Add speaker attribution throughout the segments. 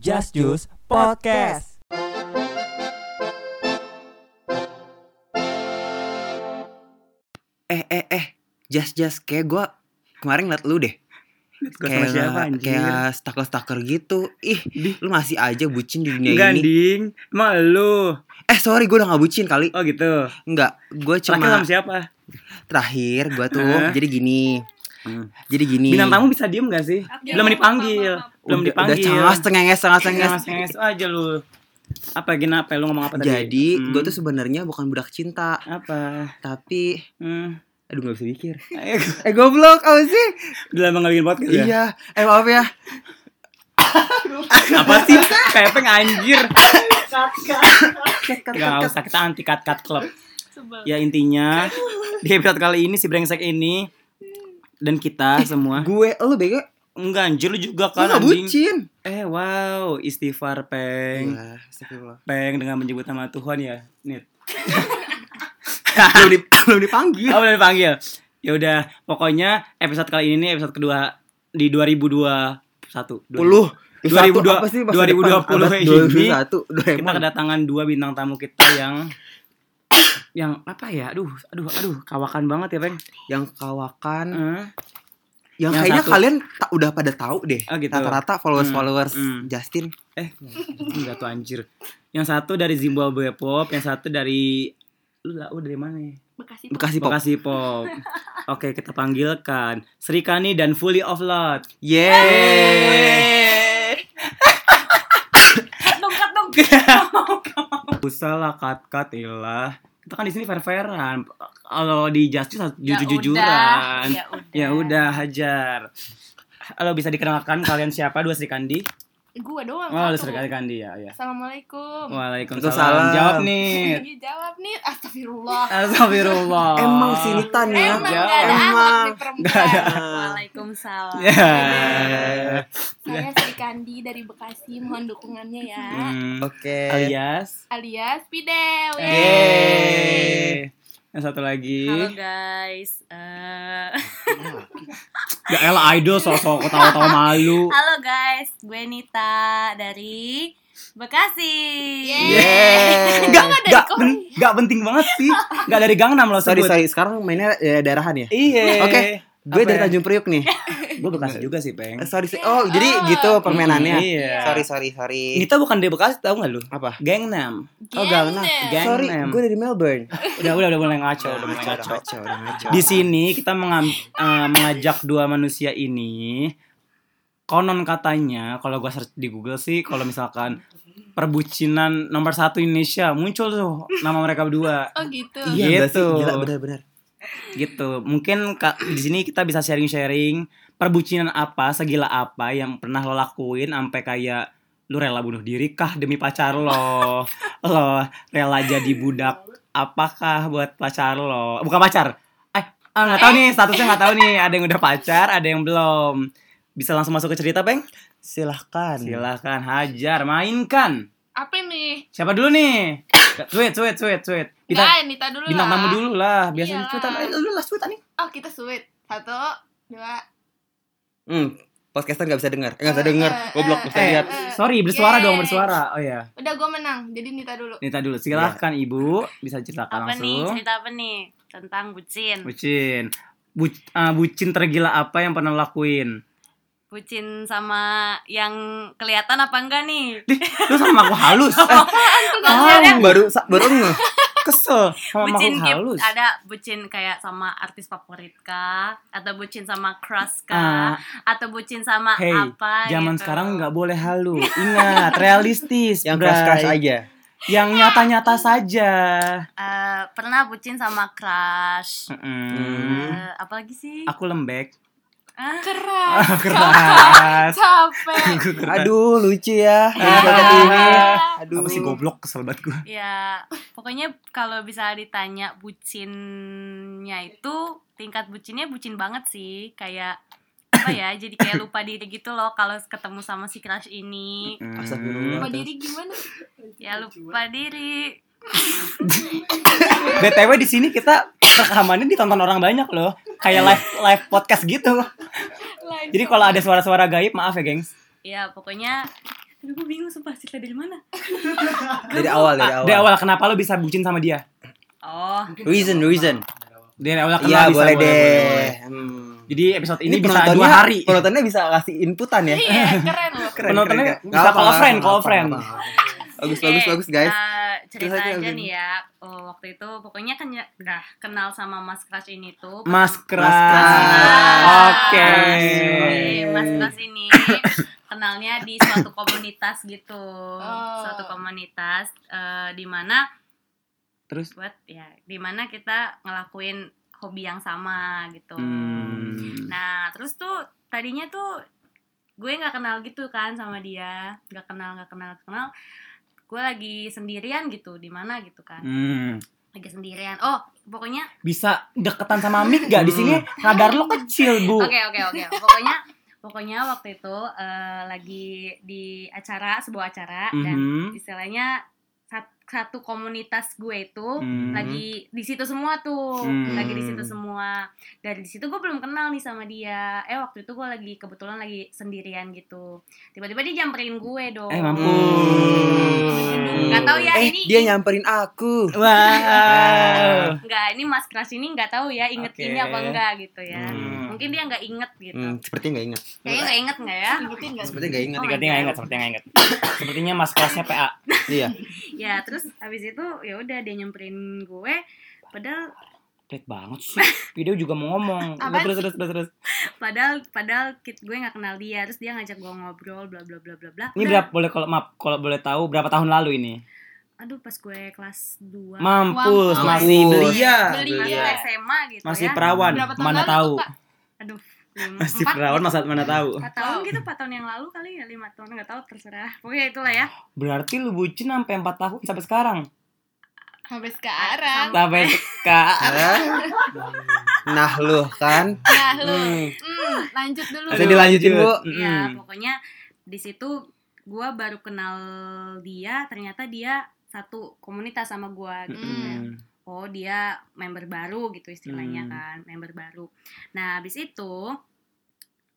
Speaker 1: Just Juice Podcast.
Speaker 2: eh eh eh jas jas kayak gue kemarin ngeliat lu deh
Speaker 3: Gue sama siapa anjir?
Speaker 2: kayak stalker stalker gitu ih
Speaker 3: Di-
Speaker 2: lu masih aja bucin di dunia
Speaker 3: Enggak,
Speaker 2: ini
Speaker 3: Ding. Emang lu.
Speaker 2: eh sorry gue udah gak bucin kali
Speaker 3: Oh gitu.
Speaker 2: enggak gue
Speaker 3: Terakhir
Speaker 2: cuma
Speaker 3: sama siapa?
Speaker 2: terakhir gue tuh
Speaker 3: Hah?
Speaker 2: jadi gini jadi gini
Speaker 3: Bintang tamu bisa diem gak sih? Belum dipanggil. Belum
Speaker 2: udah, udah
Speaker 3: dipanggil.
Speaker 2: cengas cengenges cengas cengenges
Speaker 3: Cengas-cengas aja lu. Apa kenapa lu ngomong apa tadi?
Speaker 2: jadi
Speaker 3: Hmm.
Speaker 2: gue tuh sebenarnya bukan budak cinta
Speaker 3: apa?
Speaker 2: tapi
Speaker 3: Hmm.
Speaker 2: aduh gak bisa mikir
Speaker 3: Ayo,
Speaker 2: eh goblok apa sih
Speaker 3: Udah lama gak bikin podcast ya?
Speaker 2: iya eh maaf ya
Speaker 3: Apa sih? Pepeng anjir. Gak usah kita anti cut cut club. Ya intinya di episode kali ini si brengsek ini dan kita semua
Speaker 2: gue lu bego
Speaker 3: enggak anjir lu juga
Speaker 2: lu
Speaker 3: kan
Speaker 2: gak
Speaker 3: anjing.
Speaker 2: bucin
Speaker 3: Eh wow, istighfar peng,
Speaker 2: Iya, astagfirullah.
Speaker 3: peng dengan menyebut nama Tuhan ya, Nit.
Speaker 2: belum dip- belum dipanggil
Speaker 3: Oh udah dipanggil. Ya udah, pokoknya episode kali ini nih episode kedua di 2021.
Speaker 2: 20
Speaker 3: 2020
Speaker 2: apa sih masa
Speaker 3: 2020
Speaker 2: depan? Abad
Speaker 3: ini
Speaker 2: 2021 Doraemon.
Speaker 3: Kita kedatangan dua bintang tamu kita yang yang apa ya? Aduh, aduh, aduh, kawakan banget ya, Peng.
Speaker 2: yang kawakan
Speaker 3: Eh,
Speaker 2: yang,
Speaker 3: yang
Speaker 2: kayaknya
Speaker 3: satu.
Speaker 2: kalian ta- udah pada tahu deh
Speaker 3: Oh, gitu.
Speaker 2: rata-rata followers followers
Speaker 3: Hmm, hmm.
Speaker 2: Justin
Speaker 3: enggak tuh anjir. Yang satu dari Zimbabwe Pop, yang satu dari lu lau dari mana ya?
Speaker 4: Bekasi.
Speaker 2: Bekasi pop
Speaker 3: Bekasi Pop. Oke, kita panggilkan Sri Kani dan Fully Offload.
Speaker 2: yeay
Speaker 4: Cut Eh, dong, cut dong.
Speaker 3: Usahlah cut cut ilah. Kita kan di sini fair-fairan. Kalau di Justice harus
Speaker 4: Ya
Speaker 3: jujur-jujuran.
Speaker 4: udah,
Speaker 3: Ya udah hajar. Halo bisa dikenalkan kalian siapa? Dua Sri Kandi.
Speaker 4: Gua doang.
Speaker 3: Oh, ada
Speaker 4: satu.
Speaker 3: Sri Kandi ya, ya.
Speaker 4: Assalamualaikum.
Speaker 3: Waalaikumsalam.
Speaker 2: Waalaikumsalam.
Speaker 3: Jawab nih.
Speaker 4: Lagi jawab nih. Astagfirullah.
Speaker 3: Astagfirullah.
Speaker 2: Emang sinitan ya.
Speaker 4: Emang gak ada
Speaker 2: Emang.
Speaker 4: anak di perempuan.
Speaker 3: Nggak
Speaker 4: Waalaikumsalam.
Speaker 3: Ya.
Speaker 4: Saya Sri Kandi dari Bekasi. Mohon dukungannya ya.
Speaker 3: Iya. Hmm.
Speaker 2: oke
Speaker 3: Alias.
Speaker 4: Alias Pidew.
Speaker 3: Iya. Yeay. Yang satu lagi.
Speaker 5: Halo guys, Eh,
Speaker 3: Ya elah idol sosok ketawa-tawa malu.
Speaker 5: halo guys, gue Nita dari Bekasi.
Speaker 2: Yeay.
Speaker 4: Enggak ada
Speaker 3: Gak,
Speaker 4: Korea.
Speaker 3: pen- gak penting banget sih. Gak dari Gangnam loh
Speaker 2: sorry
Speaker 3: sebut.
Speaker 2: sorry sekarang mainnya eh, daerahan ya
Speaker 3: Iya.
Speaker 2: Oke. gue
Speaker 3: Apa
Speaker 2: dari
Speaker 3: ya?
Speaker 2: Tanjung Priuk nih
Speaker 3: Gue Bekasi juga sih, Peng.
Speaker 2: Eh, sorry sih oh jadi gitu permainannya
Speaker 3: Iya.
Speaker 2: sorry sorry sorry
Speaker 3: Nita bukan dari Bekasi tahu gak lu?
Speaker 2: apa
Speaker 3: Gangnam.
Speaker 2: oh gak
Speaker 3: Gangnam.
Speaker 2: sorry gue dari Melbourne
Speaker 3: Udah udah udah mulai ngaco, udah mulai
Speaker 2: Ngaco,
Speaker 3: ngaco.
Speaker 2: ngaco, udah ngaco.
Speaker 3: Di sini kita mengam- eh, mengajak dua manusia ini konon katanya kalau gua search di Google sih kalau misalkan perbucinan nomor satu Indonesia muncul tuh nama mereka berdua
Speaker 4: Oh gitu.
Speaker 3: Gitu.
Speaker 2: Iya nggak sih? Gila benar-benar.
Speaker 3: gitu mungkin Kak, di sini kita bisa sharing-sharing perbucinan apa segila apa yang pernah lo lakuin sampai kayak lu rela bunuh diri kah demi pacar lo lo rela jadi budak apakah buat pacar lo bukan pacar eh ah, nggak tahu nih statusnya nggak tahu nih ada yang udah pacar ada yang belum bisa langsung masuk ke cerita peng
Speaker 2: Silahkan.
Speaker 3: silahkan hajar mainkan
Speaker 4: Apa nih?
Speaker 3: siapa dulu nih sweet sweet sweet sweet bintang,
Speaker 4: Enggak, Ah, Nita dulu
Speaker 3: bintang
Speaker 4: lah.
Speaker 3: tamu dulu lah biasanya
Speaker 4: Iyalah.
Speaker 3: cuitan eh, lu lah cuitan nih
Speaker 4: Oh, kita sweet. Satu, dua,
Speaker 2: Hmm, podcaster nggak bisa dengar, Eh, nggak bisa dengar,
Speaker 4: Eh, eh,
Speaker 2: goblok nggak bisa
Speaker 3: eh.
Speaker 2: lihat.
Speaker 3: Sorry, bersuara
Speaker 4: Yeay.
Speaker 3: dong, bersuara. Oh ya.
Speaker 4: Udah gue menang, jadi Nita dulu.
Speaker 3: Nita dulu, silahkan
Speaker 2: Iya.
Speaker 3: Ibu bisa ceritakan
Speaker 5: Apa nih
Speaker 3: langsung.
Speaker 5: cerita apa nih tentang bucin?
Speaker 3: Bucin. Bu- eh, bucin tergila apa yang pernah lo lakuin?
Speaker 5: Bucin sama yang kelihatan apa enggak nih?
Speaker 3: Lu sama aku halus. Eh,
Speaker 2: Ah, baru sa- baru nge.
Speaker 3: kesel sama makhluk
Speaker 5: bucin kayak-
Speaker 3: halus.
Speaker 5: ada bucin kayak sama artis favorit kah? Atau bucin sama crush
Speaker 3: Ah,
Speaker 5: kah? Atau bucin sama
Speaker 3: hey,
Speaker 5: apa?
Speaker 3: zaman
Speaker 5: gitu?
Speaker 3: sekarang nggak boleh halus. Ingat, realistis.
Speaker 2: Yang
Speaker 3: bray.
Speaker 2: crush crush aja.
Speaker 3: Yang nyata-nyata saja.
Speaker 5: Eh, pernah bucin sama crush.
Speaker 3: Mm-mm.
Speaker 2: Hmm.
Speaker 5: Eh, apalagi sih?
Speaker 3: Aku lembek.
Speaker 4: Keras.
Speaker 3: Keras.
Speaker 4: Capek.
Speaker 3: Aku keras.
Speaker 2: Aduh, lucu ya.
Speaker 3: Ah.
Speaker 2: Aduh.
Speaker 3: Apa sih goblok kesel banget gue.
Speaker 5: Ya, pokoknya kalau bisa ditanya bucinnya itu tingkat bucinnya bucin banget sih, kayak apa ya? jadi kayak lupa diri gitu loh kalau ketemu sama si crush ini.
Speaker 4: Lupa
Speaker 2: Astagfirullah.
Speaker 4: diri gimana?
Speaker 5: Ya lupa diri.
Speaker 3: BTW di sini kita rekamannya ditonton orang banyak loh.
Speaker 2: Iya.
Speaker 3: Kayak live live podcast gitu.
Speaker 4: Lain.
Speaker 3: Jadi kalau ada suara-suara gaib, maaf ya, gengs.
Speaker 5: Ya, pokoknya Tapi gue bingung sumpah cerita dari mana.
Speaker 2: Dari awal, dari awal.
Speaker 3: Dari Ah, awal kenapa lo bisa bucin sama dia?
Speaker 5: Oh,
Speaker 2: Reason, reason.
Speaker 3: Dari awal kenapa
Speaker 2: Iya,
Speaker 3: bisa?
Speaker 2: boleh deh.
Speaker 3: boleh.
Speaker 2: Hmm.
Speaker 3: Jadi episode ini, bisa
Speaker 2: penontonnya-
Speaker 3: dua hari.
Speaker 2: Penontonnya bisa kasih inputan ya.
Speaker 4: Iya, keren loh.
Speaker 2: Keren,
Speaker 3: Penontonnya
Speaker 2: keren,
Speaker 3: bisa
Speaker 2: keren. Nggak
Speaker 3: call
Speaker 2: apa-apa,
Speaker 3: friend,
Speaker 2: nggak
Speaker 3: call
Speaker 2: apa-apa,
Speaker 3: friend.
Speaker 2: nggak apa-apa. Bagus, bagus,
Speaker 5: Oke,
Speaker 2: bagus guys.
Speaker 5: eh, cerita
Speaker 2: Terus lagi,
Speaker 5: aja
Speaker 2: Alvin.
Speaker 5: nih ya. Oh, waktu itu pokoknya kenya- dah kenal sama Mas Crush ini tuh.
Speaker 3: Mas
Speaker 2: Keras.
Speaker 3: Keras. Oke.
Speaker 5: Oke, Mas Keras ini kenalnya di suatu komunitas gitu.
Speaker 4: Oh.
Speaker 5: Suatu komunitas eh, di mana
Speaker 3: Terus
Speaker 5: buat ya di mana kita ngelakuin hobi yang sama gitu.
Speaker 3: hmm.
Speaker 5: Nah, terus tuh tadinya tuh gue nggak kenal gitu kan sama dia, nggak kenal nggak kenal nggak kenal. Gue lagi sendirian gitu di mana gitu kan,
Speaker 3: Hmm.
Speaker 5: lagi sendirian. Oh, pokoknya
Speaker 3: Bisa deketan sama mic gak? Di sini
Speaker 2: Hmm.
Speaker 3: radar lo kecil, Bu.
Speaker 5: oke oke oke. Pokoknya pokoknya waktu itu eh, lagi di acara sebuah acara dan
Speaker 3: Mhm.
Speaker 5: istilahnya sat- satu komunitas gue itu
Speaker 3: Mhm.
Speaker 5: lagi di situ semua tuh
Speaker 3: Hmm.
Speaker 5: lagi di situ semua dari di situ gue belum kenal nih sama dia eh waktu itu gue lagi kebetulan lagi sendirian gitu tiba-tiba dia nyamperin gue dong
Speaker 3: Eh, mampus.
Speaker 2: Hmm.
Speaker 5: nggak tahu ya
Speaker 2: Eh,
Speaker 5: ini
Speaker 2: dia nyamperin aku. Nah.
Speaker 3: Wow.
Speaker 5: nggak ini mas keras ini nggak tahu ya ingetinnya
Speaker 3: Oke.
Speaker 5: apa enggak gitu ya
Speaker 3: Hmm.
Speaker 5: mungkin dia nggak inget gitu
Speaker 2: Hmm, sepertinya nggak ingat.
Speaker 5: kayaknya nggak inget nggak ya
Speaker 4: Dibutin nggak sih?
Speaker 2: Sepertinya nggak ingat.
Speaker 5: Oh my
Speaker 3: Sepertinya nggak
Speaker 5: God.
Speaker 3: ingat, sepertinya nggak ingat. Sepertinya mas kelasnya PA.
Speaker 2: Iya.
Speaker 5: ya terus habis itu ya udah dia nyamperin gue padahal
Speaker 3: Pelit banget sih. Video juga mau ngomong. Udah,
Speaker 4: Apaan
Speaker 3: terus, terus, terus, terus.
Speaker 5: padahal padahal kit gue nggak kenal dia terus dia ngajak gue ngobrol bla bla bla bla bla
Speaker 3: Ini
Speaker 5: Udah.
Speaker 3: berapa boleh kalau maaf kalau boleh tahu berapa tahun lalu ini?
Speaker 5: aduh pas gue kelas 2
Speaker 3: Mampus,
Speaker 4: Mampus.
Speaker 3: masih belia.
Speaker 4: Beli
Speaker 5: masih
Speaker 4: ya.
Speaker 5: SMA gitu
Speaker 3: Masih
Speaker 5: ya
Speaker 3: perawan,
Speaker 4: Berapa tahun
Speaker 3: mana
Speaker 4: lalu tuh,
Speaker 3: tahu.
Speaker 4: Kak?
Speaker 5: aduh lima-
Speaker 3: Masih
Speaker 5: empat-
Speaker 3: perawan, masa mana tahu.
Speaker 5: empat tahun gitu empat tahun yang lalu kali ya lima tahun nggak tahu terserah pokoknya itulah ya
Speaker 3: Berarti lu bucin sampai 4 tahun sampai sekarang.
Speaker 4: Sampai sekarang.
Speaker 3: Sampai sekarang.
Speaker 2: Hah? Nah, lu kan.
Speaker 4: Nah, lu.
Speaker 2: Hmm.
Speaker 4: Hmm, lanjut dulu.
Speaker 2: Bisa dilanjutin,
Speaker 4: Iya,
Speaker 2: Bu.
Speaker 3: Hmm,
Speaker 5: ya pokoknya di situ gue baru kenal dia ternyata dia satu komunitas sama gue gitu ya.
Speaker 3: Mm-mm.
Speaker 5: oh dia member baru gitu istilahnya
Speaker 3: Hmm.
Speaker 5: kan member baru nah habis itu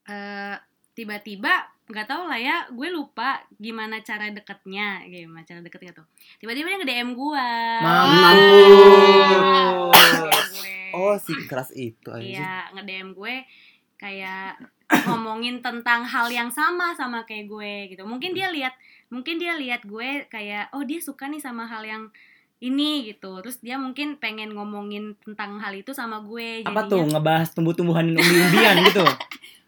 Speaker 5: eh, tiba-tiba nggak tahu lah ya gue lupa gimana cara deketnya gimana cara deketnya tuh tiba-tiba dia nge DM gue Iya,
Speaker 3: Mampus.
Speaker 2: Oh, si keras itu aja.
Speaker 5: iya nge DM gue kayak ngomongin tentang hal yang sama sama kayak gue gitu mungkin dia lihat mungkin dia lihat gue kayak oh dia suka nih sama hal yang ini gitu terus dia mungkin pengen ngomongin tentang hal itu sama gue
Speaker 3: Apa tuh
Speaker 4: Iya.
Speaker 3: ngebahas tumbuh-tumbuhan umbi-umbian gitu?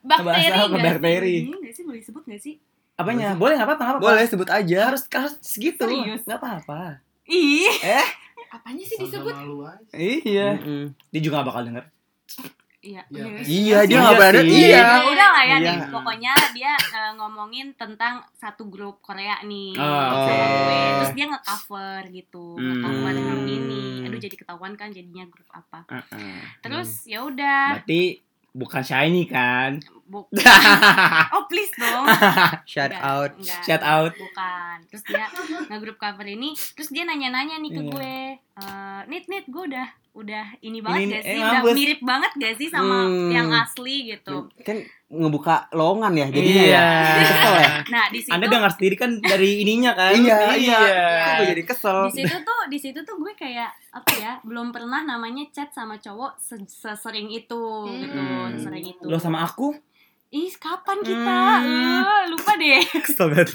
Speaker 4: Bakteri
Speaker 3: Bahasa
Speaker 5: Iya
Speaker 3: apa,
Speaker 4: nggak sih?
Speaker 3: bakteri?
Speaker 5: Ini nggak sih boleh disebut nggak sih
Speaker 3: Apanya? Boleh nggak apa-apa? nggak apa-apa.
Speaker 2: Boleh sebut aja.
Speaker 3: Harus harus segitu.
Speaker 5: Serius?
Speaker 3: Nggak apa-apa.
Speaker 5: ih Iya,
Speaker 4: Apanya sih disebut?
Speaker 3: Iya.
Speaker 2: Mm-mm.
Speaker 3: Dia juga nggak bakal denger.
Speaker 5: iya
Speaker 6: Iya.
Speaker 5: iya.
Speaker 2: Iya, dia
Speaker 3: Iya
Speaker 2: nggak berani.
Speaker 3: sih.
Speaker 2: Iya.
Speaker 5: Ya udah lah ya
Speaker 2: Iya.
Speaker 5: nih. Pokoknya dia eh, ngomongin tentang satu grup Korea
Speaker 3: Oh,
Speaker 5: nih. sama
Speaker 2: oke.
Speaker 5: gue. Terus dia nge-cover gitu, nge-cover
Speaker 2: Hmm.
Speaker 5: grup ini. Aduh jadi ketahuan kan jadinya grup apa.
Speaker 3: Heeh.
Speaker 5: Terus ya udah
Speaker 3: Berarti bukan shiny kan?
Speaker 5: bu- Oh, please dong.
Speaker 2: Shout
Speaker 5: Enggak,
Speaker 2: out.
Speaker 5: enggak.
Speaker 3: Shout out.
Speaker 5: Bukan. Terus dia nge-grup cover ini, terus dia nanya-nanya nih ke
Speaker 3: Iya.
Speaker 5: gue. Eh, nit nit gue udah udah
Speaker 3: Ini-
Speaker 5: ini banget
Speaker 3: eh,
Speaker 5: gak sih? udah
Speaker 3: mampus.
Speaker 5: mirip banget gak sih sama
Speaker 2: Hmm.
Speaker 5: yang asli gitu.
Speaker 2: Kan ngebuka lowongan ya jadinya
Speaker 3: iya.
Speaker 2: ya. Kesel ya.
Speaker 5: Nah, di situ
Speaker 3: Anda dengar sendiri kan dari ininya kan?
Speaker 2: Iya, iya. Kok gue
Speaker 3: Iya.
Speaker 2: jadi kesel.
Speaker 5: di situ tuh di situ tuh gue kayak apa ya belum pernah namanya chat sama cowok se- sesering itu gitu
Speaker 3: Hmm.
Speaker 5: sesering itu
Speaker 3: Lo sama aku?
Speaker 5: ih kapan kita
Speaker 3: Hmm.
Speaker 5: Eh, lupa deh
Speaker 3: Kesel
Speaker 2: kan?
Speaker 3: banget.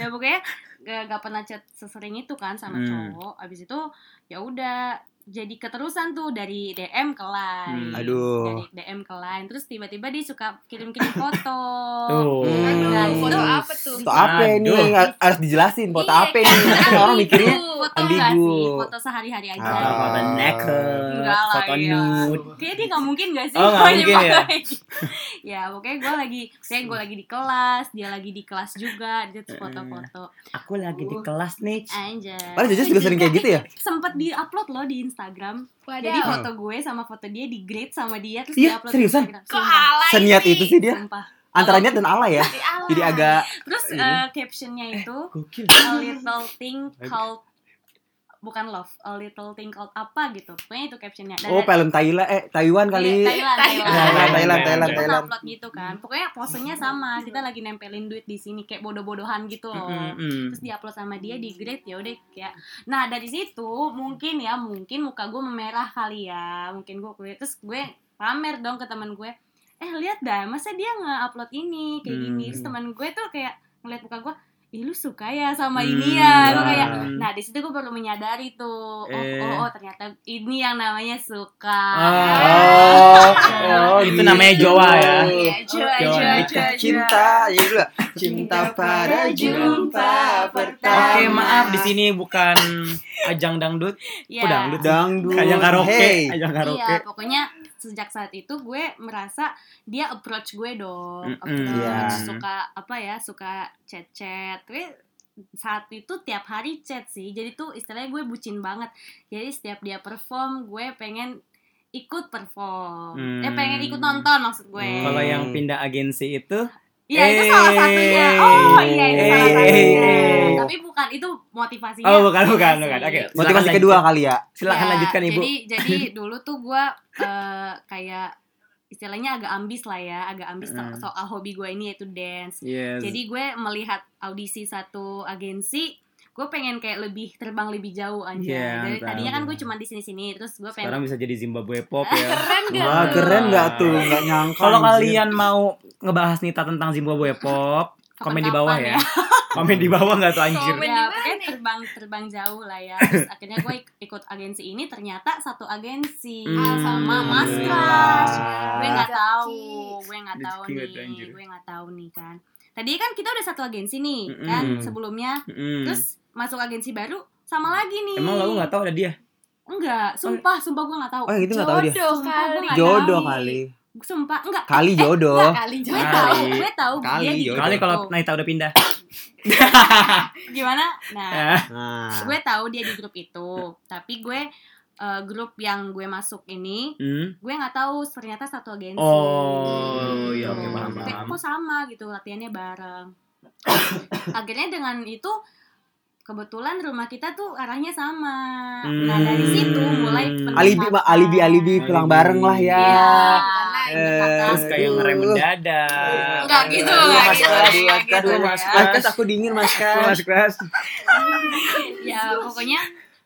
Speaker 5: ya pokoknya gak, gak pernah chat sesering itu kan sama
Speaker 3: Hmm.
Speaker 5: cowok abis itu ya udah jadi keterusan tuh dari DM ke lain
Speaker 3: Hmm.
Speaker 2: Aduh.
Speaker 5: dari DM ke lain terus tiba-tiba dia suka kirim-kirim foto
Speaker 3: Tuh.
Speaker 2: Hmm.
Speaker 5: Nah,
Speaker 4: Aduh, foto apa tuh?
Speaker 2: Foto apa ini
Speaker 3: Aduh.
Speaker 2: Nggak- harus dijelasin foto
Speaker 4: Iya,
Speaker 2: apa ini Nanti
Speaker 4: kan?
Speaker 2: orang mikirnya
Speaker 5: Nah, gitu. foto gak
Speaker 2: ambigu.
Speaker 5: sih foto sehari-hari aja
Speaker 2: Ah.
Speaker 3: Foto naked,
Speaker 5: Enggak lah,
Speaker 3: foto
Speaker 5: iya.
Speaker 3: nude.
Speaker 5: Kayaknya dia gak mungkin gak sih?
Speaker 3: Oh, nggak
Speaker 5: gua
Speaker 3: mungkin
Speaker 5: nyepak
Speaker 3: ya?
Speaker 5: lagi. ya, pokoknya gue lagi, kayak gue lagi di kelas, dia lagi di kelas juga, dia
Speaker 2: Eh.
Speaker 5: tuh foto-foto.
Speaker 3: Aku lagi di kelas nih.
Speaker 5: Ah. Anjay.
Speaker 2: Padahal Jajas juga sering kayak gitu ya
Speaker 5: Sempet di-upload loh di Instagram. Jadi
Speaker 4: Waduh.
Speaker 5: foto gue sama foto dia di grade sama dia terus
Speaker 2: Iya,
Speaker 5: di-upload
Speaker 2: seriusan? Iya.
Speaker 5: di Instagram.
Speaker 4: Kok
Speaker 5: Sumpah.
Speaker 4: alay
Speaker 2: Seniat itu sih dia
Speaker 5: Sumpah.
Speaker 2: Antara niat dan ala ya Jadi agak
Speaker 5: Terus
Speaker 2: Ini.
Speaker 5: eh, captionnya itu
Speaker 3: Gokil.
Speaker 5: a little thing called bukan love a little thing called apa gitu pokoknya itu captionnya Dan
Speaker 2: Oh,
Speaker 5: ada-
Speaker 2: film Thailand eh Taiwan kali.
Speaker 5: Iya, Thailand
Speaker 2: Ya,
Speaker 5: Thailand
Speaker 2: Thailand, Thailand, Thailand,
Speaker 5: Kita
Speaker 2: Thailand.
Speaker 5: upload gitu kan pokoknya posenya sama kita
Speaker 3: Iya.
Speaker 5: lagi nempelin duit di sini kayak bodoh-bodohan gitu loh terus diupload sama dia di grade ya udah kayak nah dari situ mungkin ya mungkin muka gue memerah kali ya mungkin gue kulit terus gue pamer dong ke teman gue eh lihat dah masa dia nge-upload ini kayak gini
Speaker 3: Hmm.
Speaker 5: terus teman gue tuh kayak ngeliat muka gue Ih, lu suka ya sama
Speaker 3: Hmm,
Speaker 5: ini ya gue
Speaker 3: wah.
Speaker 5: kayak nah di situ gue perlu menyadari tuh oh,
Speaker 3: Eh.
Speaker 5: oh oh ternyata ini yang namanya suka
Speaker 2: Oh,
Speaker 5: Ah.
Speaker 2: oh,
Speaker 3: Itu Ah. gitu namanya Jawa ya.
Speaker 5: Iya, jua,
Speaker 3: Jawa.
Speaker 5: jua, jua, jua.
Speaker 2: Cinta, ya gitu lah. Cinta pada jumpa
Speaker 5: Iya.
Speaker 2: pertama.
Speaker 3: Oke, maaf di sini bukan ajang dangdut,
Speaker 5: Iya.
Speaker 3: Kok dangdut?
Speaker 2: Dangdut.
Speaker 3: ajang karaoke,
Speaker 2: Hey.
Speaker 3: ajang karaoke.
Speaker 5: Iya, pokoknya sejak saat itu gue merasa dia approach gue dong,
Speaker 3: Mm-mm,
Speaker 5: approach
Speaker 2: iya.
Speaker 5: suka apa ya, suka chat-chat. Tapi saat itu tiap hari chat sih. Jadi tuh istilahnya gue bucin banget. Jadi setiap dia perform, gue pengen ikut perform. Eh
Speaker 3: Hmm.
Speaker 5: pengen ikut nonton maksud gue.
Speaker 3: Kalau yang pindah agensi itu
Speaker 5: Iya, itu
Speaker 3: Eh.
Speaker 5: salah satunya. Oh, iya itu
Speaker 2: Eh.
Speaker 5: salah satunya.
Speaker 2: Eh.
Speaker 5: Tapi bukan itu motivasinya.
Speaker 3: Oh, bukan, bukan, bukan. Oke.
Speaker 5: Motivasi.
Speaker 2: Motivasi
Speaker 3: Silakan
Speaker 2: kedua kali ya.
Speaker 3: Silahkan
Speaker 5: Ya,
Speaker 3: lanjutkan Ibu.
Speaker 5: Jadi jadi dulu tuh gue eh, kayak istilahnya agak ambis lah ya, agak ambis so-
Speaker 3: Mm.
Speaker 5: soal hobi gue ini yaitu dance.
Speaker 3: Yes.
Speaker 5: Jadi gue melihat audisi satu agensi, gue pengen kayak lebih terbang lebih jauh aja.
Speaker 3: Iya,
Speaker 5: Dari
Speaker 3: mantap.
Speaker 5: tadinya kan gue cuma di sini-sini, terus gue pengen
Speaker 3: sekarang bisa jadi Zimbabwe Pop ya.
Speaker 5: keren
Speaker 2: Wah,
Speaker 5: gak? tuh?
Speaker 2: Ah, keren nggak tuh? Nggak nyangka.
Speaker 3: Ah. Kalau
Speaker 2: anjir.
Speaker 3: kalian mau ngebahas Nita tentang Zimbabwe Pop, komen di bawah
Speaker 5: Kapan-kapan
Speaker 3: ya. Komen di bawah nggak tuh anjir?
Speaker 5: Ya, pokoknya terbang terbang jauh lah ya. Terus akhirnya gue ik- ikut agensi ini ternyata satu agensi
Speaker 3: Hmm,
Speaker 5: sama Mas
Speaker 3: alhamdulillah.
Speaker 5: Crush. Gue nggak tahu, gue nggak tahu
Speaker 3: Rezeki nggak tuh,
Speaker 5: nih,
Speaker 3: anjir.
Speaker 5: gue nggak tahu nih kan. Tadi kan kita udah satu agensi nih kan
Speaker 3: Mm-mm.
Speaker 5: sebelumnya.
Speaker 3: Mm.
Speaker 5: Terus masuk agensi baru sama lagi nih.
Speaker 3: Emang lo nggak tahu ada dia?
Speaker 5: Enggak, sumpah, sumpah gue nggak tahu.
Speaker 2: Oh, yang itu nggak tahu dia.
Speaker 4: Jodoh
Speaker 5: Sumpah, gue
Speaker 4: kali.
Speaker 5: nggak tahu.
Speaker 2: Jodoh kali.
Speaker 5: Sumpah, enggak.
Speaker 2: Kali jodoh.
Speaker 4: Kali
Speaker 3: Nah.
Speaker 5: Gue
Speaker 4: jodoh.
Speaker 5: tahu,
Speaker 3: Kali.
Speaker 5: gue tahu
Speaker 2: Kali,
Speaker 5: dia di
Speaker 2: Jodoh.
Speaker 3: Kali kalau
Speaker 5: Gitu.
Speaker 3: Nita udah pindah.
Speaker 5: gimana? Nah,
Speaker 3: Eh,
Speaker 2: Nah.
Speaker 5: gue tahu dia di grup itu tapi gue eh, grup yang gue masuk ini
Speaker 3: hmm.
Speaker 5: gue nggak tahu ternyata satu agensi
Speaker 3: Oh, iya,
Speaker 2: oke, paham,
Speaker 5: Maksudnya,
Speaker 3: paham.
Speaker 5: kok sama gitu latihannya bareng akhirnya dengan itu kebetulan rumah kita tuh arahnya sama nah dari situ mulai
Speaker 3: Hmm.
Speaker 2: Alibi, Pak. Alibi, alibi pulang
Speaker 3: Alibi.
Speaker 2: bareng lah ya.
Speaker 4: Iya.
Speaker 5: ya
Speaker 2: Eh.
Speaker 3: Terus kayak
Speaker 2: Aduh.
Speaker 3: ngerem mendadak.
Speaker 5: Enggak gitu,
Speaker 2: Aduh,
Speaker 5: enggak
Speaker 2: Mas
Speaker 5: gitu,
Speaker 2: Kas,
Speaker 5: enggak
Speaker 2: Mas Kas,
Speaker 5: gitu,
Speaker 2: Mas
Speaker 5: ya.
Speaker 2: Kas, Mas Kas, aku dingin Mas kan? Kas.
Speaker 3: Mas kelas.
Speaker 5: ya pokoknya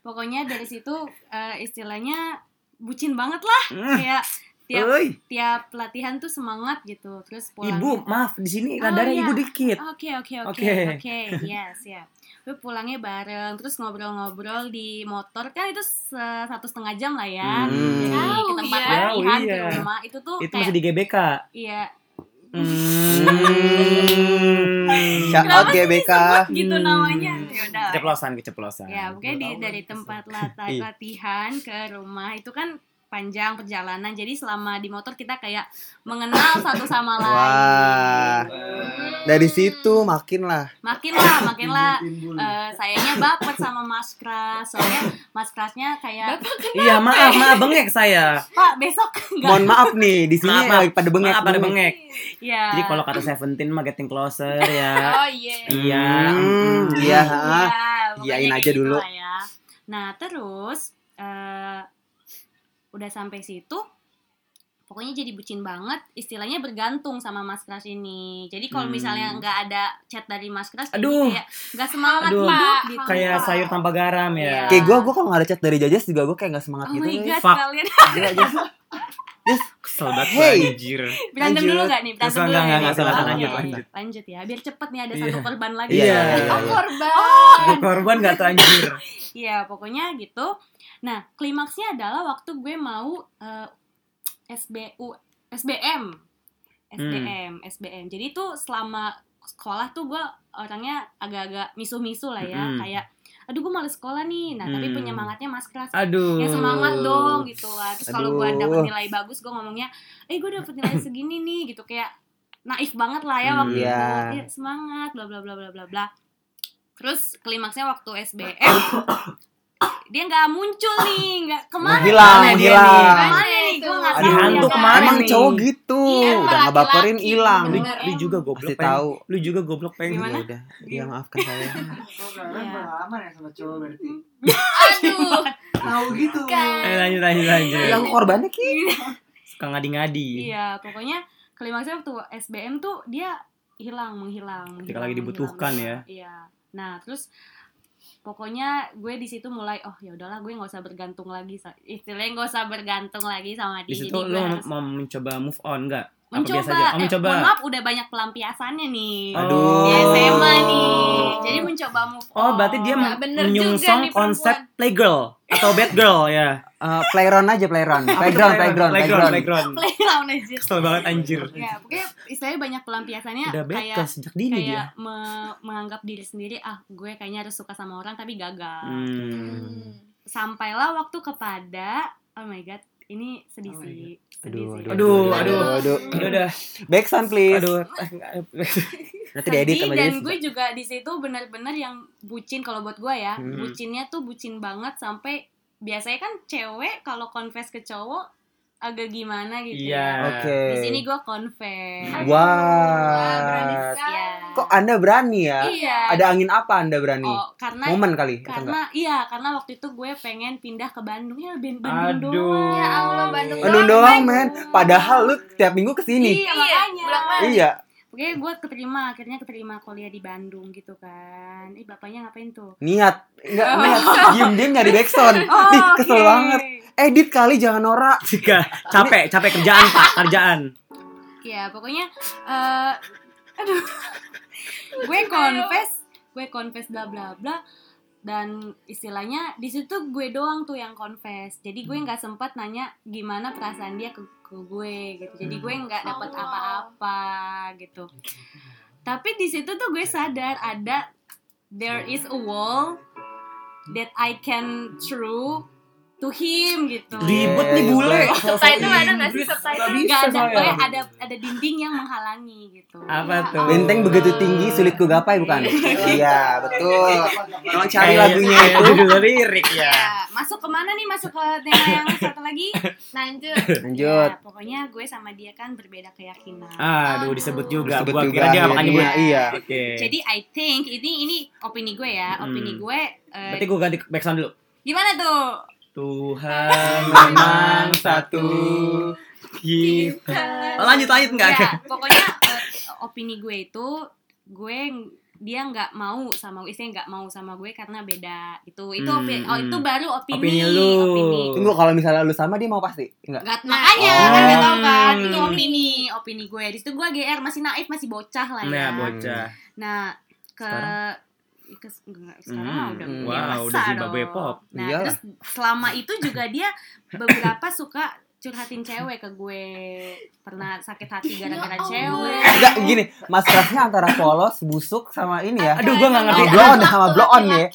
Speaker 5: pokoknya dari situ eh, istilahnya bucin banget lah
Speaker 3: Hmm.
Speaker 5: kayak tiap
Speaker 3: Oi,
Speaker 5: tiap latihan tuh semangat gitu terus pulang
Speaker 3: ibu, maaf di sini
Speaker 5: Oh,
Speaker 3: radarnya
Speaker 5: iya.
Speaker 3: ibu dikit.
Speaker 5: Oke oke oke
Speaker 3: Oke.
Speaker 5: oke yes ya. Gue pulangnya bareng terus ngobrol-ngobrol di motor kan itu se- satu setengah jam lah ya.
Speaker 2: Hmm.
Speaker 5: Jadi ke
Speaker 4: Jauh
Speaker 5: tempat
Speaker 4: ya.
Speaker 5: latihan
Speaker 3: Jauh,
Speaker 5: ke
Speaker 3: iya.
Speaker 5: rumah itu tuh
Speaker 3: Itu
Speaker 5: kayak
Speaker 3: masih di GBK.
Speaker 5: iya
Speaker 2: Hmm. Shout out
Speaker 5: Kenapa sih
Speaker 2: GBK.
Speaker 5: disebut
Speaker 3: Hmm.
Speaker 5: gitu namanya? Ya udah.
Speaker 3: Keceplosan, keceplosan.
Speaker 5: Ya pokoknya di, dari tempat lata-
Speaker 2: Iya.
Speaker 5: latihan ke rumah itu kan panjang perjalanan jadi selama di motor kita kayak mengenal satu sama
Speaker 2: Wah.
Speaker 5: lain
Speaker 2: Dari situ makin lah.
Speaker 5: makinlah makinlah eh sayangnya baper sama Mas Kras soalnya Mas Krasnya kayak
Speaker 3: Iya, maaf, maaf bengek saya.
Speaker 5: Pak besok enggak
Speaker 2: Mohon maaf nih, di sini
Speaker 3: Maaf, maaf.
Speaker 2: lagi pada bengek.
Speaker 3: Maaf, ada bengek.
Speaker 5: ya
Speaker 3: Jadi kalau kata Seventeen mah getting closer ya.
Speaker 4: Oh iya.
Speaker 3: Iya.
Speaker 2: Hmm,
Speaker 3: mm.
Speaker 2: Iya.
Speaker 5: ya, pokoknya
Speaker 2: iyain
Speaker 5: kayak
Speaker 2: aja
Speaker 5: gitu
Speaker 2: dulu.
Speaker 5: lah ya. nah terus eh udah sampai situ pokoknya jadi bucin banget istilahnya bergantung sama Mas Kras ini jadi kalau
Speaker 3: Hmm.
Speaker 5: misalnya nggak ada chat dari Mas Kras jadi
Speaker 3: Aduh.
Speaker 5: kayak nggak semangat
Speaker 3: Aduh.
Speaker 5: hidup gitu
Speaker 3: Kayak sayur tanpa garam ya.
Speaker 5: Iya.
Speaker 2: Kayak gue, gue kalau nggak ada chat dari Jajas juga gue kayak nggak semangat
Speaker 5: Oh
Speaker 2: gitu.
Speaker 5: my god,
Speaker 3: Fuck.
Speaker 5: kalian
Speaker 2: Gila, Jas.
Speaker 3: Kesel banget
Speaker 2: Hey.
Speaker 3: gua, anjir.
Speaker 5: berantem
Speaker 2: Lanjut.
Speaker 5: dulu gak nih? Berantem
Speaker 3: Terus
Speaker 5: dulu
Speaker 3: enggak,
Speaker 5: ya?
Speaker 3: enggak, enggak, silakan
Speaker 5: Oke.
Speaker 3: lanjut, lanjut.
Speaker 5: ya, biar cepet nih ada
Speaker 3: Iya.
Speaker 5: satu korban lagi.
Speaker 2: Iya,
Speaker 5: Iya,
Speaker 2: iya,
Speaker 4: Oh
Speaker 2: iya.
Speaker 4: korban.
Speaker 3: Gua Korban gak tuh anjir.
Speaker 5: pokoknya gitu. Nah, klimaksnya adalah waktu gue mau eh, SBU, SBM, SBM, SBM. Jadi itu selama sekolah tuh gue orangnya agak-agak misuh-misuh lah ya,
Speaker 3: Mm-mm.
Speaker 5: kayak aduh gue males sekolah nih. Nah,
Speaker 3: Mm.
Speaker 5: tapi penyemangatnya Mas Kras
Speaker 3: Aduh.
Speaker 5: ya semangat dong gitu lah terus kalau gue
Speaker 2: Aduh.
Speaker 5: dapet nilai bagus gue ngomongnya eh gue dapet nilai segini nih gitu kayak naif banget lah ya
Speaker 3: Hmm,
Speaker 5: waktu
Speaker 2: iya.
Speaker 5: itu Ya, semangat bla bla bla bla bla bla terus klimaksnya waktu SBM dia nggak muncul nih nggak kemana
Speaker 2: Menghilang,
Speaker 3: Mana Ah, dia
Speaker 2: menghilang.
Speaker 5: kemana nih gue
Speaker 4: Tuh.
Speaker 5: penasaran
Speaker 3: Si hantu
Speaker 5: ya kan?
Speaker 3: kemarin
Speaker 2: Emang
Speaker 3: nih.
Speaker 2: cowok gitu,
Speaker 4: Iya, emang
Speaker 2: udah ngebaperin
Speaker 4: laki-laki,
Speaker 2: hilang.
Speaker 3: Lu,
Speaker 4: Bener.
Speaker 3: lu juga goblok
Speaker 2: Pasti
Speaker 3: pengen.
Speaker 2: tahu.
Speaker 3: Lu juga goblok pengen.
Speaker 5: Gimana?
Speaker 2: Ya udah, dia maafkan saya.
Speaker 6: Oh, kalian
Speaker 5: Iya.
Speaker 6: pengalaman ya sama cowok berarti.
Speaker 4: Aduh,
Speaker 6: Tahu gitu.
Speaker 4: Kan.
Speaker 3: Eh, lanjut lanjut lanjut.
Speaker 2: Iya, aku korbannya ki.
Speaker 3: Suka ngadi-ngadi.
Speaker 5: Iya, pokoknya klimaksnya waktu SBM tuh dia hilang menghilang.
Speaker 3: Ketika
Speaker 5: menghilang,
Speaker 3: lagi dibutuhkan ya.
Speaker 5: menghilang. Iya. Nah terus pokoknya gue di situ mulai oh ya udahlah gue nggak usah bergantung lagi sa- istilahnya nggak usah bergantung lagi sama
Speaker 3: Di
Speaker 5: dia.
Speaker 3: situ
Speaker 5: Jadi
Speaker 3: lu
Speaker 5: gue
Speaker 3: mau,
Speaker 5: harus
Speaker 3: mau mencoba move on enggak? Apa
Speaker 5: mencoba.
Speaker 3: biasa aja? Oh,
Speaker 5: Eh,
Speaker 3: mencoba. Oh.
Speaker 5: mohon maaf udah banyak pelampiasannya nih.
Speaker 2: Aduh.
Speaker 5: Di SMA nih. Jadi mencoba move on.
Speaker 3: Oh, berarti dia
Speaker 4: nggak
Speaker 3: men-
Speaker 4: bener juga
Speaker 3: menyungsong
Speaker 4: nih perempuan.
Speaker 3: konsep playgirl atau bad girl ya.
Speaker 2: Eh, playground aja playground, playground, playground,
Speaker 3: playground,
Speaker 2: playground.
Speaker 3: playground.
Speaker 5: playground aja.
Speaker 3: Kesel banget anjir.
Speaker 5: Ya, pokoknya istilahnya banyak pelampiasannya
Speaker 3: Udah
Speaker 5: kayak
Speaker 3: bekel sejak dini dia.
Speaker 5: kayak me- menganggap diri sendiri ah gue kayaknya harus suka sama orang tapi gagal
Speaker 3: Hmm.
Speaker 5: sampailah waktu kepada oh my god ini sedih
Speaker 3: Oh my
Speaker 5: sih sedih
Speaker 2: Aduh,
Speaker 5: sih
Speaker 3: Aduh,
Speaker 2: aduh, aduh.
Speaker 3: Udah udah.
Speaker 2: Back sound please.
Speaker 3: Aduh.
Speaker 2: Nanti diedit
Speaker 5: sedih
Speaker 2: sama
Speaker 5: dan
Speaker 2: Jess.
Speaker 5: gue juga di situ benar-benar yang bucin kalau buat gue ya
Speaker 3: Hmm.
Speaker 5: bucinnya tuh bucin banget sampai biasanya kan cewek kalau confess ke cowok agak gimana
Speaker 3: Iya.
Speaker 5: gitu ya.
Speaker 2: Oke.
Speaker 5: di sini gue confess
Speaker 2: Wah.
Speaker 4: Wah, berani sekali.
Speaker 5: Iya.
Speaker 2: Kok Anda berani ya?
Speaker 5: iya
Speaker 2: Ada angin apa Anda berani?
Speaker 5: oh karena
Speaker 2: Momen gitu kali atau enggak?
Speaker 5: karena iya karena waktu itu gue pengen pindah ke Bandung ya Ben-
Speaker 3: Aduh.
Speaker 5: Bandung doang
Speaker 4: Ya Allah, Bandung
Speaker 2: Anu
Speaker 4: Bandung
Speaker 2: doang, men.
Speaker 4: Bandung.
Speaker 2: Padahal lu tiap minggu kesini.
Speaker 5: iya
Speaker 4: Iya,
Speaker 5: makanya
Speaker 4: bolak-balik.
Speaker 2: Iya.
Speaker 5: Oke, gue keterima akhirnya keterima kuliah di Bandung gitu kan. Eh bapaknya ngapain tuh?
Speaker 2: Niat. Enggak, niat. Diem-diem nyari back sound.
Speaker 5: Oh, iya.
Speaker 2: Ih, kesel banget. Edit kali jangan norak.
Speaker 3: Jika capek, capek kerjaan Pak, kerjaan.
Speaker 5: Ya pokoknya, eh aduh, gue confess, gue confess bla bla bla dan istilahnya di situ gue doang tuh yang confess. Jadi gue nggak sempat nanya gimana perasaan dia ke, ke gue gitu. Jadi gue nggak dapat
Speaker 4: Allah.
Speaker 5: apa-apa gitu. Tapi di situ tuh gue sadar ada there is a wall that I can through to him gitu.
Speaker 3: Ribet nih bule.
Speaker 4: Subtitle ada nggak sih subtitle?
Speaker 5: Gak ada,
Speaker 3: saya.
Speaker 5: pokoknya ada ada dinding yang menghalangi gitu.
Speaker 3: Apa tuh?
Speaker 2: Benteng begitu tinggi sulit ku gapai bukan? Oh. Iya, betul. Tolong
Speaker 3: Kayak-
Speaker 2: cari lagunya
Speaker 3: kayak
Speaker 2: itu.
Speaker 3: judul lirik ya.
Speaker 5: Ya, masuk kemana nih? Masuk ke tema yang satu lagi?
Speaker 4: Lanjut.
Speaker 2: Lanjut.
Speaker 5: Ya, pokoknya gue sama dia kan berbeda keyakinan.
Speaker 3: Aduh, disebut juga.
Speaker 2: Disebut
Speaker 3: Gua
Speaker 2: juga
Speaker 3: kira dia bakal
Speaker 2: akhirnya,
Speaker 3: nyebut.
Speaker 2: iya.
Speaker 3: Oke.
Speaker 5: Jadi I think ini ini opini gue ya, opini
Speaker 3: Hmm.
Speaker 5: gue. eh,
Speaker 3: Berarti gua ganti back sound dulu.
Speaker 5: gimana tuh?
Speaker 3: Tuhan memang satu kita. Oh, Lanjut lanjut enggak?
Speaker 5: Ya, pokoknya eh, opini gue itu gue ng- dia nggak mau sama gue, istrinya nggak mau sama gue karena beda itu itu
Speaker 3: Hmm,
Speaker 5: opi- oh, itu
Speaker 3: hmm.
Speaker 5: baru opini
Speaker 3: Opini lu.
Speaker 5: opini.
Speaker 2: Tunggu kalau misalnya lu sama dia mau pasti? Enggak.
Speaker 5: Gak, makanya
Speaker 2: Oh.
Speaker 5: kan gak tau kan itu
Speaker 3: Hmm.
Speaker 5: opini opini gue di situ gue GR masih naif masih bocah lah ya
Speaker 3: Nah, bocah.
Speaker 2: Hmm.
Speaker 5: Nah, ke
Speaker 3: Sekarang?
Speaker 5: ke enggak, sekarang mah
Speaker 3: Hmm,
Speaker 5: udah
Speaker 2: wow,
Speaker 5: dewasa
Speaker 3: udah Zimbabwe
Speaker 5: dong.
Speaker 3: pop.
Speaker 5: Nah,
Speaker 2: Iyalah.
Speaker 5: terus selama itu juga dia beberapa suka curhatin cewek ke gue. Pernah sakit hati
Speaker 4: Ya
Speaker 5: gara-gara
Speaker 4: Allah.
Speaker 5: cewek.
Speaker 2: Enggak gini, mas kerasnya antara polos, busuk sama ini ya.
Speaker 3: Aduh, gua nggak ngerti.
Speaker 2: Blow on sama blow on ya.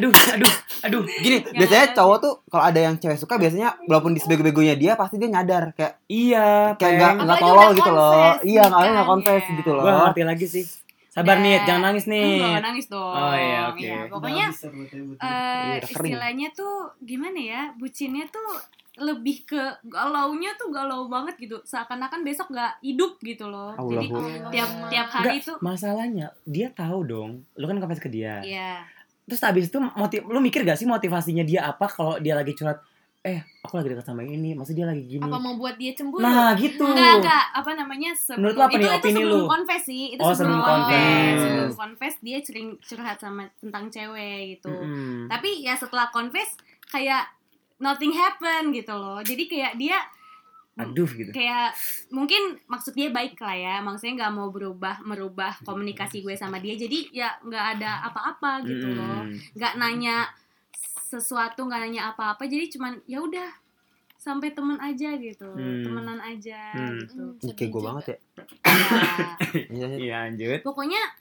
Speaker 3: Aduh, aduh, aduh.
Speaker 2: Gini,
Speaker 5: Yang
Speaker 2: biasanya
Speaker 5: ada-
Speaker 2: cowok tuh kalau ada yang cewek suka biasanya walaupun di sebego-begonya dia pasti dia nyadar kayak
Speaker 3: Iya,
Speaker 2: kayak
Speaker 3: Peng.
Speaker 2: enggak enggak
Speaker 4: Apalagi
Speaker 2: tolol
Speaker 4: udah
Speaker 2: gitu loh.
Speaker 4: confess,
Speaker 2: Iya, kalau enggak
Speaker 5: kan,
Speaker 2: confess
Speaker 5: ya.
Speaker 2: gitu
Speaker 3: Gua nggak
Speaker 2: loh.
Speaker 3: ngerti lagi sih. Sabar
Speaker 5: Udah.
Speaker 3: nih, jangan nangis
Speaker 5: Enggak,
Speaker 3: nih.
Speaker 5: nangis dong.
Speaker 3: Eh. Oh, iya, oke.
Speaker 5: Ya, pokoknya eh,
Speaker 2: Iya, kering.
Speaker 5: istilahnya tuh gimana ya? Bucinnya tuh lebih ke galaunya tuh galau banget gitu. Seakan-akan besok gak hidup gitu loh. Jadi
Speaker 2: Allahu.
Speaker 5: tiap tiap hari tuh
Speaker 3: Masalahnya dia tahu dong. Lu kan confess ke dia.
Speaker 5: Iya.
Speaker 3: Terus abis itu motiv lu mikir gak sih motivasinya dia apa kalau dia lagi curhat? Eh, aku lagi dekat sama ini, maksud dia lagi gini.
Speaker 4: Apa mau buat dia cemburu?
Speaker 3: Nah, gitu.
Speaker 5: Enggak, enggak. Apa namanya? Sebelum,
Speaker 3: Menurut lo apa
Speaker 5: itu,
Speaker 3: nih
Speaker 5: itu
Speaker 3: opini
Speaker 5: sebelum
Speaker 3: lo?
Speaker 5: confess sih. Itu
Speaker 3: Oh,
Speaker 5: sebelum,
Speaker 3: sebelum
Speaker 5: confess.
Speaker 3: confess.
Speaker 5: Sebelum confess dia sering curhat sama tentang cewek gitu.
Speaker 3: Mm-mm.
Speaker 5: Tapi ya setelah confess kayak nothing happen gitu loh. Jadi kayak dia
Speaker 3: Aduh gitu.
Speaker 5: kayak mungkin maksud dia baik lah ya maksudnya nggak mau berubah merubah komunikasi gue sama dia jadi ya nggak ada apa-apa gitu loh
Speaker 3: Mm-mm.
Speaker 5: nggak nanya sesuatu nggak nanya apa-apa jadi cuman ya udah sampai temen aja gitu
Speaker 3: Hmm.
Speaker 5: temenan aja
Speaker 3: Hmm.
Speaker 5: gitu
Speaker 2: Ih, Kayak gue banget ya.
Speaker 5: Ya,
Speaker 2: Iya, iya.
Speaker 3: Iya, lanjut.
Speaker 5: pokoknya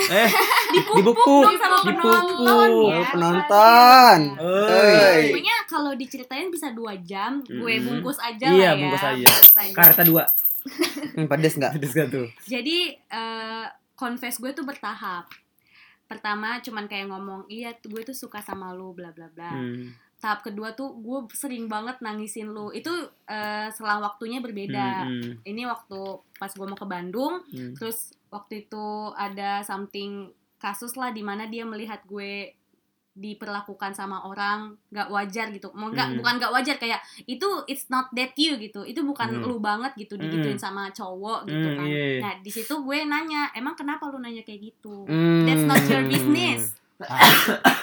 Speaker 3: Eh,
Speaker 5: dipupuk,
Speaker 3: dipupuk.
Speaker 5: dong sama penonton
Speaker 3: Dipupuk.
Speaker 5: ya Iya,
Speaker 2: Oh, penonton.
Speaker 3: Oi.
Speaker 5: pokoknya kalau diceritain bisa dua jam gue
Speaker 3: Mm-mm.
Speaker 5: bungkus aja
Speaker 3: Iya,
Speaker 5: lah ya
Speaker 3: bungkus aja.
Speaker 5: bungkus aja.
Speaker 3: Kareta dua.
Speaker 2: Ini pedes enggak?
Speaker 3: Terus gak tuh?
Speaker 5: jadi eh confess gue tuh bertahap pertama cuman kayak ngomong iya tuh gue tuh suka sama lu bla bla bla
Speaker 3: Hmm.
Speaker 5: tahap kedua tuh gue sering banget nangisin lu itu eh, selang waktunya berbeda
Speaker 3: Hmm,
Speaker 5: ini waktu pas gue mau ke Bandung
Speaker 3: hmm,
Speaker 5: terus waktu itu ada something kasus lah di mana dia melihat gue diperlakukan sama orang nggak wajar gitu mau nggak
Speaker 3: Hmm.
Speaker 5: bukan nggak wajar kayak itu it's not that you gitu itu bukan
Speaker 3: Hmm.
Speaker 5: lu banget gitu
Speaker 3: Hmm.
Speaker 5: digituin sama cowok gitu
Speaker 3: Hmm,
Speaker 5: kan
Speaker 3: iya, iya.
Speaker 5: nah di situ gue nanya emang kenapa lu nanya kayak gitu
Speaker 2: Hmm.
Speaker 5: that's not your business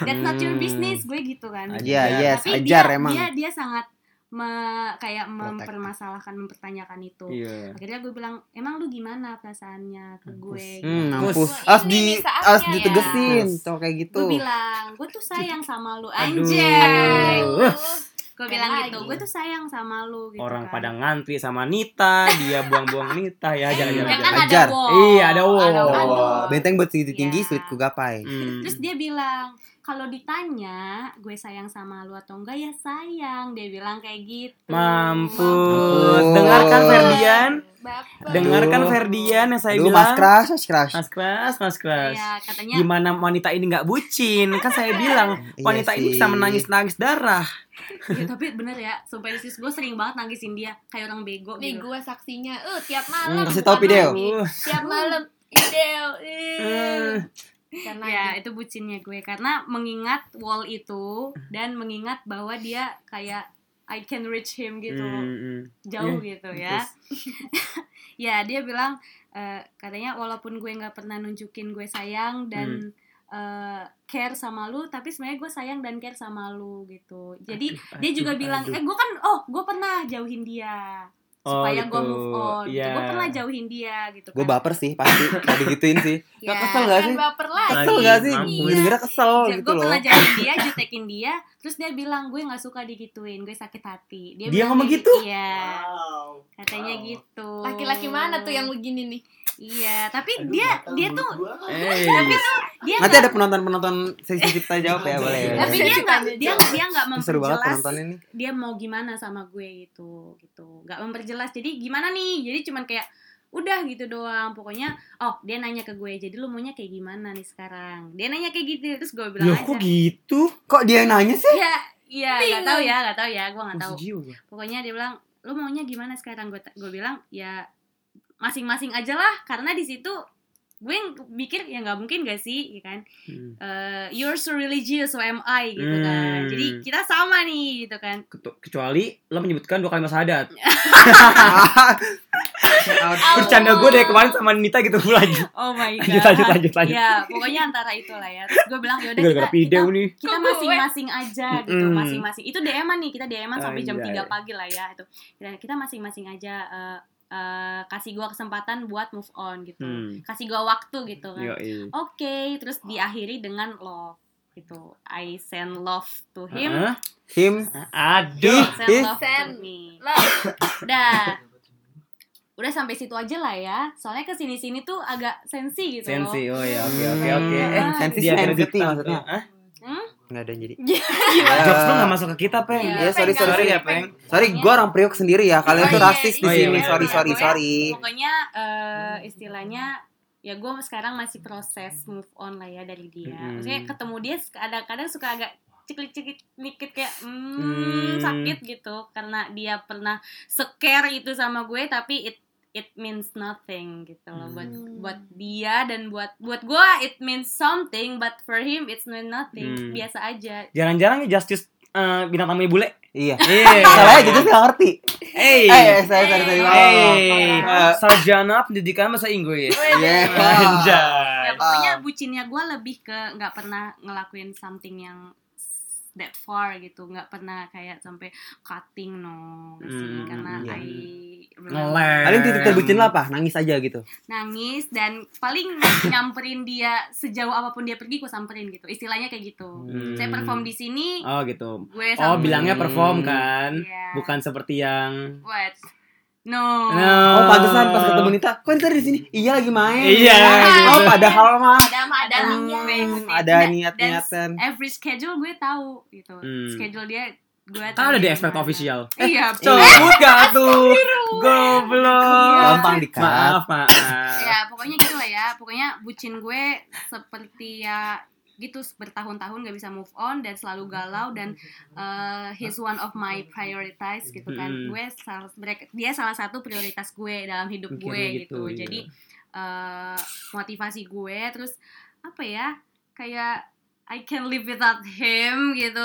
Speaker 5: that's not your
Speaker 2: Hmm.
Speaker 5: business gue gitu kan
Speaker 2: Iya, yes,
Speaker 5: tapi
Speaker 2: ajar
Speaker 5: dia,
Speaker 2: emang.
Speaker 5: dia dia sangat me- kayak mempermasalahkan mempertanyakan itu
Speaker 3: Iya.
Speaker 5: akhirnya gue bilang emang lu gimana perasaannya ke gue
Speaker 2: Hmm,
Speaker 3: Mampus.
Speaker 2: mampus.
Speaker 4: Ini
Speaker 2: Harus
Speaker 4: nih
Speaker 2: di
Speaker 4: saatnya
Speaker 2: harus
Speaker 4: ya.
Speaker 2: ditegesin kalau kayak gitu.
Speaker 5: gue bilang gue tuh sayang sama lu
Speaker 3: Aduh.
Speaker 5: anjay
Speaker 3: Aduh.
Speaker 5: gue bilang
Speaker 4: Lagi.
Speaker 5: gitu gue tuh sayang sama lu gitu
Speaker 3: Orang pada
Speaker 5: kan.
Speaker 3: ngantri sama Nita, dia buang-buang Nita ya jangan
Speaker 5: ya
Speaker 3: jangan.
Speaker 5: kan
Speaker 3: jangan.
Speaker 2: Ajar.
Speaker 5: ada wall
Speaker 3: Iya, ada wall.
Speaker 2: Oh, benteng buat segitu tinggi,
Speaker 5: Ya.
Speaker 2: sulit ku gapai.
Speaker 3: Hmm.
Speaker 5: terus dia bilang kalau ditanya gue sayang sama lu atau enggak ya sayang dia bilang kayak gitu
Speaker 3: Mampus.
Speaker 2: Mampus.
Speaker 3: Dengarkan
Speaker 2: Oh.
Speaker 3: Ferdian,
Speaker 4: Bapak.
Speaker 3: dengarkan Ferdian yang saya
Speaker 2: Aduh,
Speaker 3: bilang. Ah,
Speaker 2: mas crush, mas crush.
Speaker 3: Mas Kras, Mas Kras.
Speaker 5: Iya, katanya
Speaker 3: Gimana wanita ini nggak bucin? Kan saya bilang
Speaker 2: Iya
Speaker 3: wanita ini
Speaker 2: sih.
Speaker 3: bisa menangis-nangis darah.
Speaker 5: Ya, tapi bener ya, sumpah di gue sering banget nangisin dia kayak orang bego
Speaker 4: Nih
Speaker 5: gitu.
Speaker 4: gue saksinya, eh tiap malam.
Speaker 2: kasih tahu
Speaker 4: bukan
Speaker 2: video.
Speaker 4: lagi.
Speaker 3: Uh,
Speaker 4: Tiap malam video.
Speaker 5: Iya,
Speaker 3: eh,
Speaker 4: Karena
Speaker 5: Ya, itu bucinnya gue karena mengingat wall itu dan mengingat bahwa dia kayak I can reach him gitu,
Speaker 3: hmm, hmm.
Speaker 5: jauh
Speaker 3: Iya,
Speaker 5: gitu ya. ya, dia bilang eh, katanya walaupun gue nggak pernah nunjukin gue sayang dan
Speaker 3: Hmm.
Speaker 5: eh, care sama lu, tapi sebenarnya gue sayang dan care sama lu gitu. Jadi dia juga
Speaker 3: aduh,
Speaker 5: bilang,
Speaker 3: aduh.
Speaker 5: eh gue kan, oh gue pernah jauhin dia
Speaker 3: Oh,
Speaker 5: supaya gue
Speaker 3: gitu.
Speaker 5: move on.
Speaker 3: Iya.
Speaker 5: Gue pernah jauhin dia gitu.
Speaker 2: Gue
Speaker 5: kan.
Speaker 2: baper sih pasti kalau digituin sih.
Speaker 5: Ya.
Speaker 2: Gak kesel gak
Speaker 4: kan
Speaker 2: sih?
Speaker 4: baper lagi.
Speaker 2: Kesel gak sih?
Speaker 3: Mampus.
Speaker 2: Gara-gara kesel
Speaker 5: Ja-
Speaker 2: gitu
Speaker 5: gue
Speaker 2: loh.
Speaker 5: pernah jauhin dia, jutekin dia, terus dia bilang gue nggak suka digituin, gue sakit hati.
Speaker 3: Dia
Speaker 5: bilang
Speaker 3: ngomong
Speaker 5: kayak
Speaker 3: gitu?
Speaker 5: Iya,
Speaker 6: Wow.
Speaker 5: katanya
Speaker 6: Wow.
Speaker 5: gitu.
Speaker 4: Laki-laki mana tuh yang begini nih?
Speaker 5: Iya, tapi
Speaker 6: Aduh,
Speaker 5: dia
Speaker 6: gatal
Speaker 5: dia
Speaker 6: mulut
Speaker 5: tuh
Speaker 6: gua.
Speaker 3: Eh,
Speaker 5: dia
Speaker 2: Nanti
Speaker 5: nggak-
Speaker 2: ada penonton-penonton sesi cipta jawab ya, boleh. ya.
Speaker 5: tapi dia nggak dia dia nggak
Speaker 2: Seru banget
Speaker 5: memperjelas
Speaker 2: penonton ini.
Speaker 5: dia mau gimana sama gue gitu gitu nggak memperjelas jadi gimana nih jadi cuman kayak udah gitu doang pokoknya oh dia nanya ke gue jadi lu maunya kayak gimana nih sekarang dia nanya kayak gitu terus gue bilang
Speaker 3: loh
Speaker 5: aja
Speaker 3: kok gitu?
Speaker 2: Kok dia yang nanya sih?
Speaker 5: ya iya nggak tahu ya nggak tahu ya gue nggak tahu
Speaker 3: Masih jiwa gua.
Speaker 5: pokoknya dia bilang lu maunya gimana sekarang gue gue bilang ya masing-masing aja lah karena di situ gue ng- mikir ya nggak mungkin gak sih ya kan
Speaker 3: Hmm.
Speaker 5: Eh, you're so religious so am I gitu
Speaker 3: Hmm.
Speaker 5: kan jadi kita sama nih gitu kan
Speaker 3: Ketu- Kecuali lo menyebutkan dua kalimat syahadat.
Speaker 5: Oh.
Speaker 2: Out.
Speaker 3: Bercanda gue dari kemarin sama Nita gitu lanjut.
Speaker 5: oh my god
Speaker 3: Lanjut lanjut lanjut lanjut.
Speaker 5: ya pokoknya antara itulah ya Terus gue bilang yaudah kita
Speaker 3: Gara-gara video
Speaker 5: kita-
Speaker 3: nih.
Speaker 5: kita
Speaker 4: Kok gue?
Speaker 5: masing-masing aja gitu
Speaker 3: Mm-mm.
Speaker 5: masing-masing itu DM nih kita DM sampai jam
Speaker 3: Anjay.
Speaker 5: 3 pagi lah ya itu kita, kita masing-masing aja eh, eh, kasih gua kesempatan buat move on gitu
Speaker 3: Hmm.
Speaker 5: kasih gua waktu gitu kan
Speaker 3: Yo, iya.
Speaker 5: oke terus diakhiri dengan love gitu I send love to him
Speaker 3: Hah?
Speaker 2: Him.
Speaker 5: Iya,
Speaker 3: Aduh.
Speaker 5: send
Speaker 2: Ih,
Speaker 5: love
Speaker 4: send
Speaker 5: to me
Speaker 4: Lah,
Speaker 5: udah udah sampai situ aja lah ya soalnya kesini sini tuh agak sensi gitu loh
Speaker 3: Sensi. Oh ya, oke oke oke.
Speaker 5: Iya.
Speaker 2: Eh, sensi
Speaker 3: Dia
Speaker 2: sensi
Speaker 3: kredit
Speaker 2: maksudnya.
Speaker 3: Hah?
Speaker 2: Nggak ada yang jadi.
Speaker 3: Jokes lu gak masuk ke kita, Peng.
Speaker 5: Iya,
Speaker 2: Iya, sorry,
Speaker 5: Peng,
Speaker 2: sorry.
Speaker 5: nggak
Speaker 3: ya, Peng.
Speaker 2: Sorry, gue orang Priok sendiri ya. Kalian
Speaker 4: Oh,
Speaker 2: tuh
Speaker 4: iya,
Speaker 2: rasis di
Speaker 3: iya,
Speaker 2: sini.
Speaker 3: iya,
Speaker 2: Sorry,
Speaker 5: iya,
Speaker 2: sorry,
Speaker 5: iya.
Speaker 2: sorry.
Speaker 5: pokoknya eh, istilahnya ya gue sekarang masih proses move on lah ya dari dia
Speaker 3: Mm-mm.
Speaker 5: maksudnya ketemu dia kadang-kadang suka agak ciklik-ciklik dikit kayak hmm,
Speaker 3: Hmm.
Speaker 5: sakit gitu karena dia pernah scare itu sama gue tapi it it means nothing gitu loh buat
Speaker 4: Hmm.
Speaker 5: buat dia dan buat buat gue it means something but for him it's mean nothing
Speaker 3: Hmm.
Speaker 5: biasa aja
Speaker 3: Jarang-jarang ya Justice eh, binatang tamunya bule.
Speaker 2: Iya.
Speaker 3: Iya.
Speaker 2: Salahnya jadi nggak ngerti.
Speaker 3: Hey.
Speaker 2: Eh, eh, sorry, sorry, sorry.
Speaker 3: Iya. Hey.
Speaker 2: Eh.
Speaker 3: Sarjana pendidikan bahasa Inggris.
Speaker 2: Iya.
Speaker 5: ya
Speaker 3: Anjay.
Speaker 5: pokoknya
Speaker 2: Ah.
Speaker 5: bucinnya gue lebih ke nggak pernah ngelakuin something yang s- that far gitu nggak pernah kayak sampai cutting no nggak sih
Speaker 3: Hmm,
Speaker 5: karena
Speaker 2: iya.
Speaker 5: I
Speaker 3: Ngeler.
Speaker 2: Paling titik terbucin lah apa? Nangis aja gitu.
Speaker 5: nangis dan paling nyamperin dia sejauh apapun dia pergi gue samperin gitu istilahnya kayak gitu
Speaker 3: Hmm.
Speaker 5: saya perform di sini
Speaker 3: Oh gitu.
Speaker 5: gue
Speaker 3: Oh
Speaker 5: samperin
Speaker 3: bilangnya perform
Speaker 2: Hmm.
Speaker 3: kan,
Speaker 5: Iya.
Speaker 3: bukan Nah. seperti yang.
Speaker 5: what no
Speaker 2: Oh, pantesan pas ketemu Nita, kok Nita di sini? Iya lagi main.
Speaker 3: Iya,
Speaker 2: Oh,
Speaker 3: gitu.
Speaker 2: padahal mah.
Speaker 4: ada mah ada
Speaker 5: Ada
Speaker 4: nih.
Speaker 2: Hmm,
Speaker 5: niat-
Speaker 2: ada
Speaker 5: dan-
Speaker 2: niat-niatan.
Speaker 5: every schedule gue tahu gitu
Speaker 3: Hmm.
Speaker 5: schedule dia gue
Speaker 3: Kan ada
Speaker 5: tahu
Speaker 3: di
Speaker 5: dia
Speaker 3: expert
Speaker 5: gimana.
Speaker 3: official.
Speaker 5: iya
Speaker 3: Cabut gak tuh? Goblok.
Speaker 2: Gampang dikat.
Speaker 3: Iya. Maaf maaf.
Speaker 5: Iya, ya pokoknya gitu lah ya pokoknya bucin gue seperti ya gitu bertahun-tahun gak bisa move on dan selalu galau dan eh, he's one of my priorities gitu kan
Speaker 3: Mm.
Speaker 5: gue salah, mereka- dia salah satu prioritas gue dalam hidup gue
Speaker 3: Mikirnya gitu,
Speaker 5: gitu,
Speaker 3: iya.
Speaker 5: jadi eh, motivasi gue terus apa ya kayak I can live without him gitu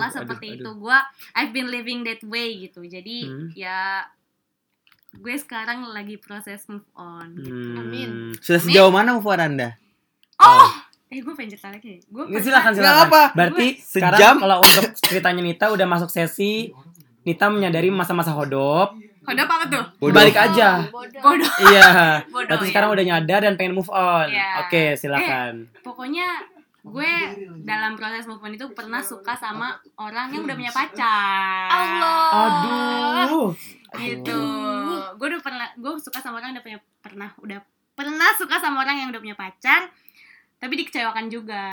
Speaker 3: Aduh, aduh,
Speaker 5: seperti
Speaker 3: aduh.
Speaker 5: itu gue I've been living that way gitu jadi
Speaker 3: Hmm.
Speaker 5: ya gue sekarang lagi proses move on
Speaker 3: Hmm.
Speaker 4: Amin.
Speaker 2: Sudah sejauh mana move on Anda?
Speaker 5: oh eh gue pengen cerita lagi gue
Speaker 3: Ya, silakan
Speaker 2: Nggak
Speaker 3: silakan.
Speaker 2: apa.
Speaker 3: Berarti
Speaker 2: Sejam.
Speaker 3: sekarang kalau untuk ceritanya Nita udah masuk sesi Nita menyadari masa-masa hodop.
Speaker 5: kode apa tuh
Speaker 2: Bodoh.
Speaker 3: Balik aja.
Speaker 4: Bodoh.
Speaker 5: bodoh
Speaker 3: Iya.
Speaker 5: bodoh
Speaker 3: Berarti
Speaker 5: ya.
Speaker 3: sekarang udah nyadar dan pengen move on.
Speaker 5: Iya.
Speaker 3: Oke, silakan.
Speaker 5: pokoknya gue dalam proses move on itu pernah suka sama orang yang udah punya pacar
Speaker 4: Allah.
Speaker 3: Aduh.
Speaker 5: gitu gue udah pernah gue suka sama orang yang udah punya pernah udah pernah suka sama orang yang udah punya pacar tapi dikecewakan juga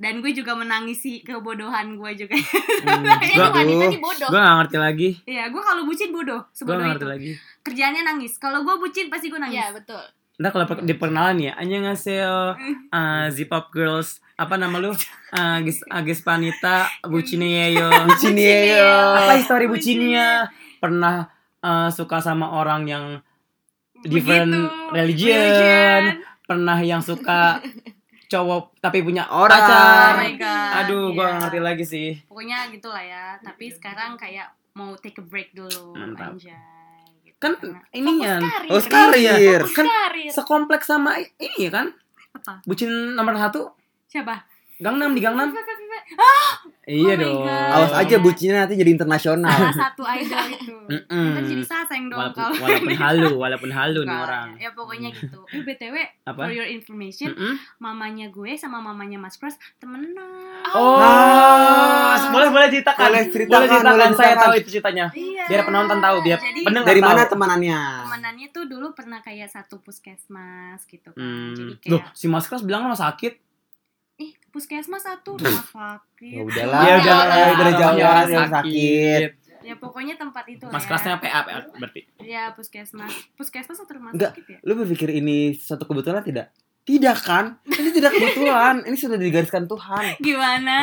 Speaker 5: dan gue juga menangisi kebodohan gue juga
Speaker 3: Hmm.
Speaker 4: Kayaknya
Speaker 3: Gua-
Speaker 4: ini wanita nih bodoh.
Speaker 3: Gue gak ngerti lagi.
Speaker 5: ya gue kalau bucin bodoh
Speaker 3: Gue gak
Speaker 5: sebodoh itu
Speaker 3: ngerti lagi.
Speaker 5: kerjaannya nangis kalau gue bucin pasti gue nangis
Speaker 4: Iya, betul.
Speaker 3: Ntar kalau per- di perkenalan ya, Anya ngasih
Speaker 4: Mm.
Speaker 3: Zip Up Girls, apa nama lu? Ah, Agis, Agis Panita, Bucine Yeyo.
Speaker 2: Bucin yo.
Speaker 3: Iya. Apa histori bucinnya? Pernah eh, suka sama orang yang different
Speaker 5: Begitu.
Speaker 3: religion.
Speaker 5: Religion.
Speaker 3: Pernah yang suka cowok tapi punya
Speaker 2: Orang.
Speaker 5: oh
Speaker 3: pacar.
Speaker 5: my god
Speaker 3: Aduh, gue
Speaker 5: Iya.
Speaker 3: ngerti lagi sih.
Speaker 5: pokoknya gitulah ya tapi sekarang kayak mau take a break dulu
Speaker 3: Mantap.
Speaker 5: anjay gitu.
Speaker 3: Kan
Speaker 5: Karena-
Speaker 3: ini ya,
Speaker 4: Karir.
Speaker 2: Oh, karir.
Speaker 4: Fokus
Speaker 3: Kan-
Speaker 5: ya?
Speaker 4: karir.
Speaker 3: sekompleks sama i- ini ya kan?
Speaker 5: Apa?
Speaker 3: Bucin nomor satu,
Speaker 5: siapa
Speaker 3: Gangnam di Gangnam.
Speaker 5: Oh
Speaker 3: Iya
Speaker 5: my
Speaker 3: dong.
Speaker 5: God.
Speaker 2: Awas aja bucinnya nanti jadi internasional.
Speaker 5: salah satu idol itu
Speaker 3: Mm-mm.
Speaker 5: Ntar jadi saseng dong
Speaker 3: Walaupun,
Speaker 5: kalau
Speaker 3: walaupun halu, walaupun halu nih
Speaker 5: Enggak,
Speaker 3: orang. Mm.
Speaker 5: ya pokoknya gitu eh btw
Speaker 3: Apa? Mm.
Speaker 5: for your information
Speaker 3: Mm-mm.
Speaker 5: mamanya gue sama mamanya mas Pras temenan
Speaker 3: Oh,
Speaker 2: Ah.
Speaker 3: boleh boleh ceritakan.
Speaker 2: Boleh ceritakan,
Speaker 3: Boleh ceritakan.
Speaker 2: boleh
Speaker 3: Saya
Speaker 2: ceritakan.
Speaker 3: tahu itu ceritanya.
Speaker 5: iya
Speaker 3: Biar penonton tahu, biar
Speaker 5: Jadi-
Speaker 3: pendengar
Speaker 2: Dari mana
Speaker 3: tahu.
Speaker 2: temanannya?
Speaker 5: temenannya tuh dulu pernah kayak satu puskesmas gitu kan
Speaker 3: Hmm.
Speaker 5: jadi kayak
Speaker 3: Loh, si Mas Kelas bilang rumah sakit.
Speaker 5: ih puskesmas satu
Speaker 3: Hmm.
Speaker 5: rumah
Speaker 2: Ya
Speaker 5: sakit
Speaker 3: Iya,
Speaker 2: udahlah.
Speaker 5: iya,
Speaker 4: Ya udah,
Speaker 2: Ya udah jauh
Speaker 3: Orang
Speaker 2: orang sakit.
Speaker 5: ya pokoknya tempat itu
Speaker 3: Mas
Speaker 5: ya.
Speaker 3: Kelasnya PA, PA berarti.
Speaker 5: ya puskesmas puskesmas atau rumah
Speaker 2: Enggak.
Speaker 5: sakit ya
Speaker 2: Lu berpikir ini suatu kebetulan tidak? Tidak kan? Ini tidak kebetulan. Ini sudah digariskan Tuhan.
Speaker 3: Ya.
Speaker 5: gimana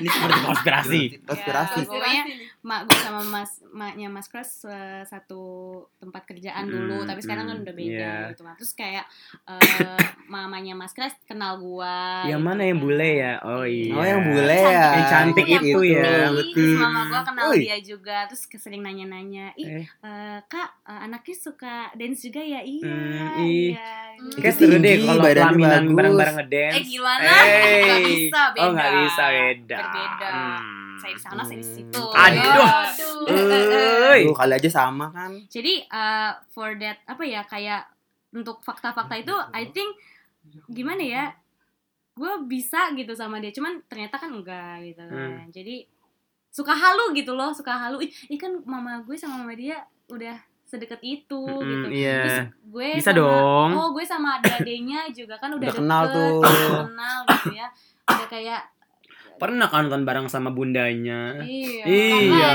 Speaker 3: Ini seperti konspirasi.
Speaker 2: Konspirasi.
Speaker 5: Ya, pokoknya mak gue sama mas maknya mas Kras eh, satu tempat kerjaan dulu
Speaker 3: Mm,
Speaker 5: tapi sekarang kan
Speaker 3: mm,
Speaker 5: udah beda
Speaker 3: iya.
Speaker 5: gitu kan. terus kayak eh, mamanya mas Kras kenal gua
Speaker 3: Yang
Speaker 5: gitu
Speaker 3: mana yang
Speaker 5: kan.
Speaker 3: bule ya? Oh iya.
Speaker 2: Oh yang bule ya.
Speaker 3: Yang cantik
Speaker 5: Yang
Speaker 3: itu ya.
Speaker 5: putih,
Speaker 2: Betul.
Speaker 5: terus mama gua kenal
Speaker 2: Ui.
Speaker 5: dia juga terus sering nanya-nanya ih
Speaker 3: Eh.
Speaker 5: eh, kak eh, anaknya suka dance juga ya iya
Speaker 3: Hmm, ih.
Speaker 5: iya gitu.
Speaker 3: Kayak seru deh
Speaker 2: Tinggi,
Speaker 3: kalau
Speaker 2: badannya
Speaker 3: pelaminan
Speaker 2: bagus.
Speaker 3: bareng-bareng
Speaker 5: eh
Speaker 3: ngedance.
Speaker 5: gimana
Speaker 3: Hey.
Speaker 5: Nggak bisa beda
Speaker 3: Oh nggak bisa beda.
Speaker 5: berbeda
Speaker 3: Hmm.
Speaker 5: saya di sana saya di situ
Speaker 3: Aduh.
Speaker 4: Aduh.
Speaker 3: Eh.
Speaker 2: Aduh, kali aja sama kan.
Speaker 5: Jadi eh, for that apa ya kayak untuk fakta-fakta itu I think gimana ya? Gue bisa gitu sama dia, cuman ternyata kan enggak gitu
Speaker 3: Hmm.
Speaker 5: kan. Jadi suka halu gitu loh, suka halu. Ih, ih kan mama gue sama mama dia udah sedekat itu
Speaker 3: Mm-mm,
Speaker 5: gitu.
Speaker 3: iya.
Speaker 5: Terus gue
Speaker 3: Bisa
Speaker 5: sama-
Speaker 3: dong.
Speaker 5: Oh, gue sama adik-adiknya juga kan udah,
Speaker 2: Udah kenal
Speaker 5: deket,
Speaker 2: tuh.
Speaker 5: udah kenal gitu ya. Udah kayak
Speaker 3: Pernah kan nonton bareng sama bundanya.
Speaker 5: iya.
Speaker 3: Iya.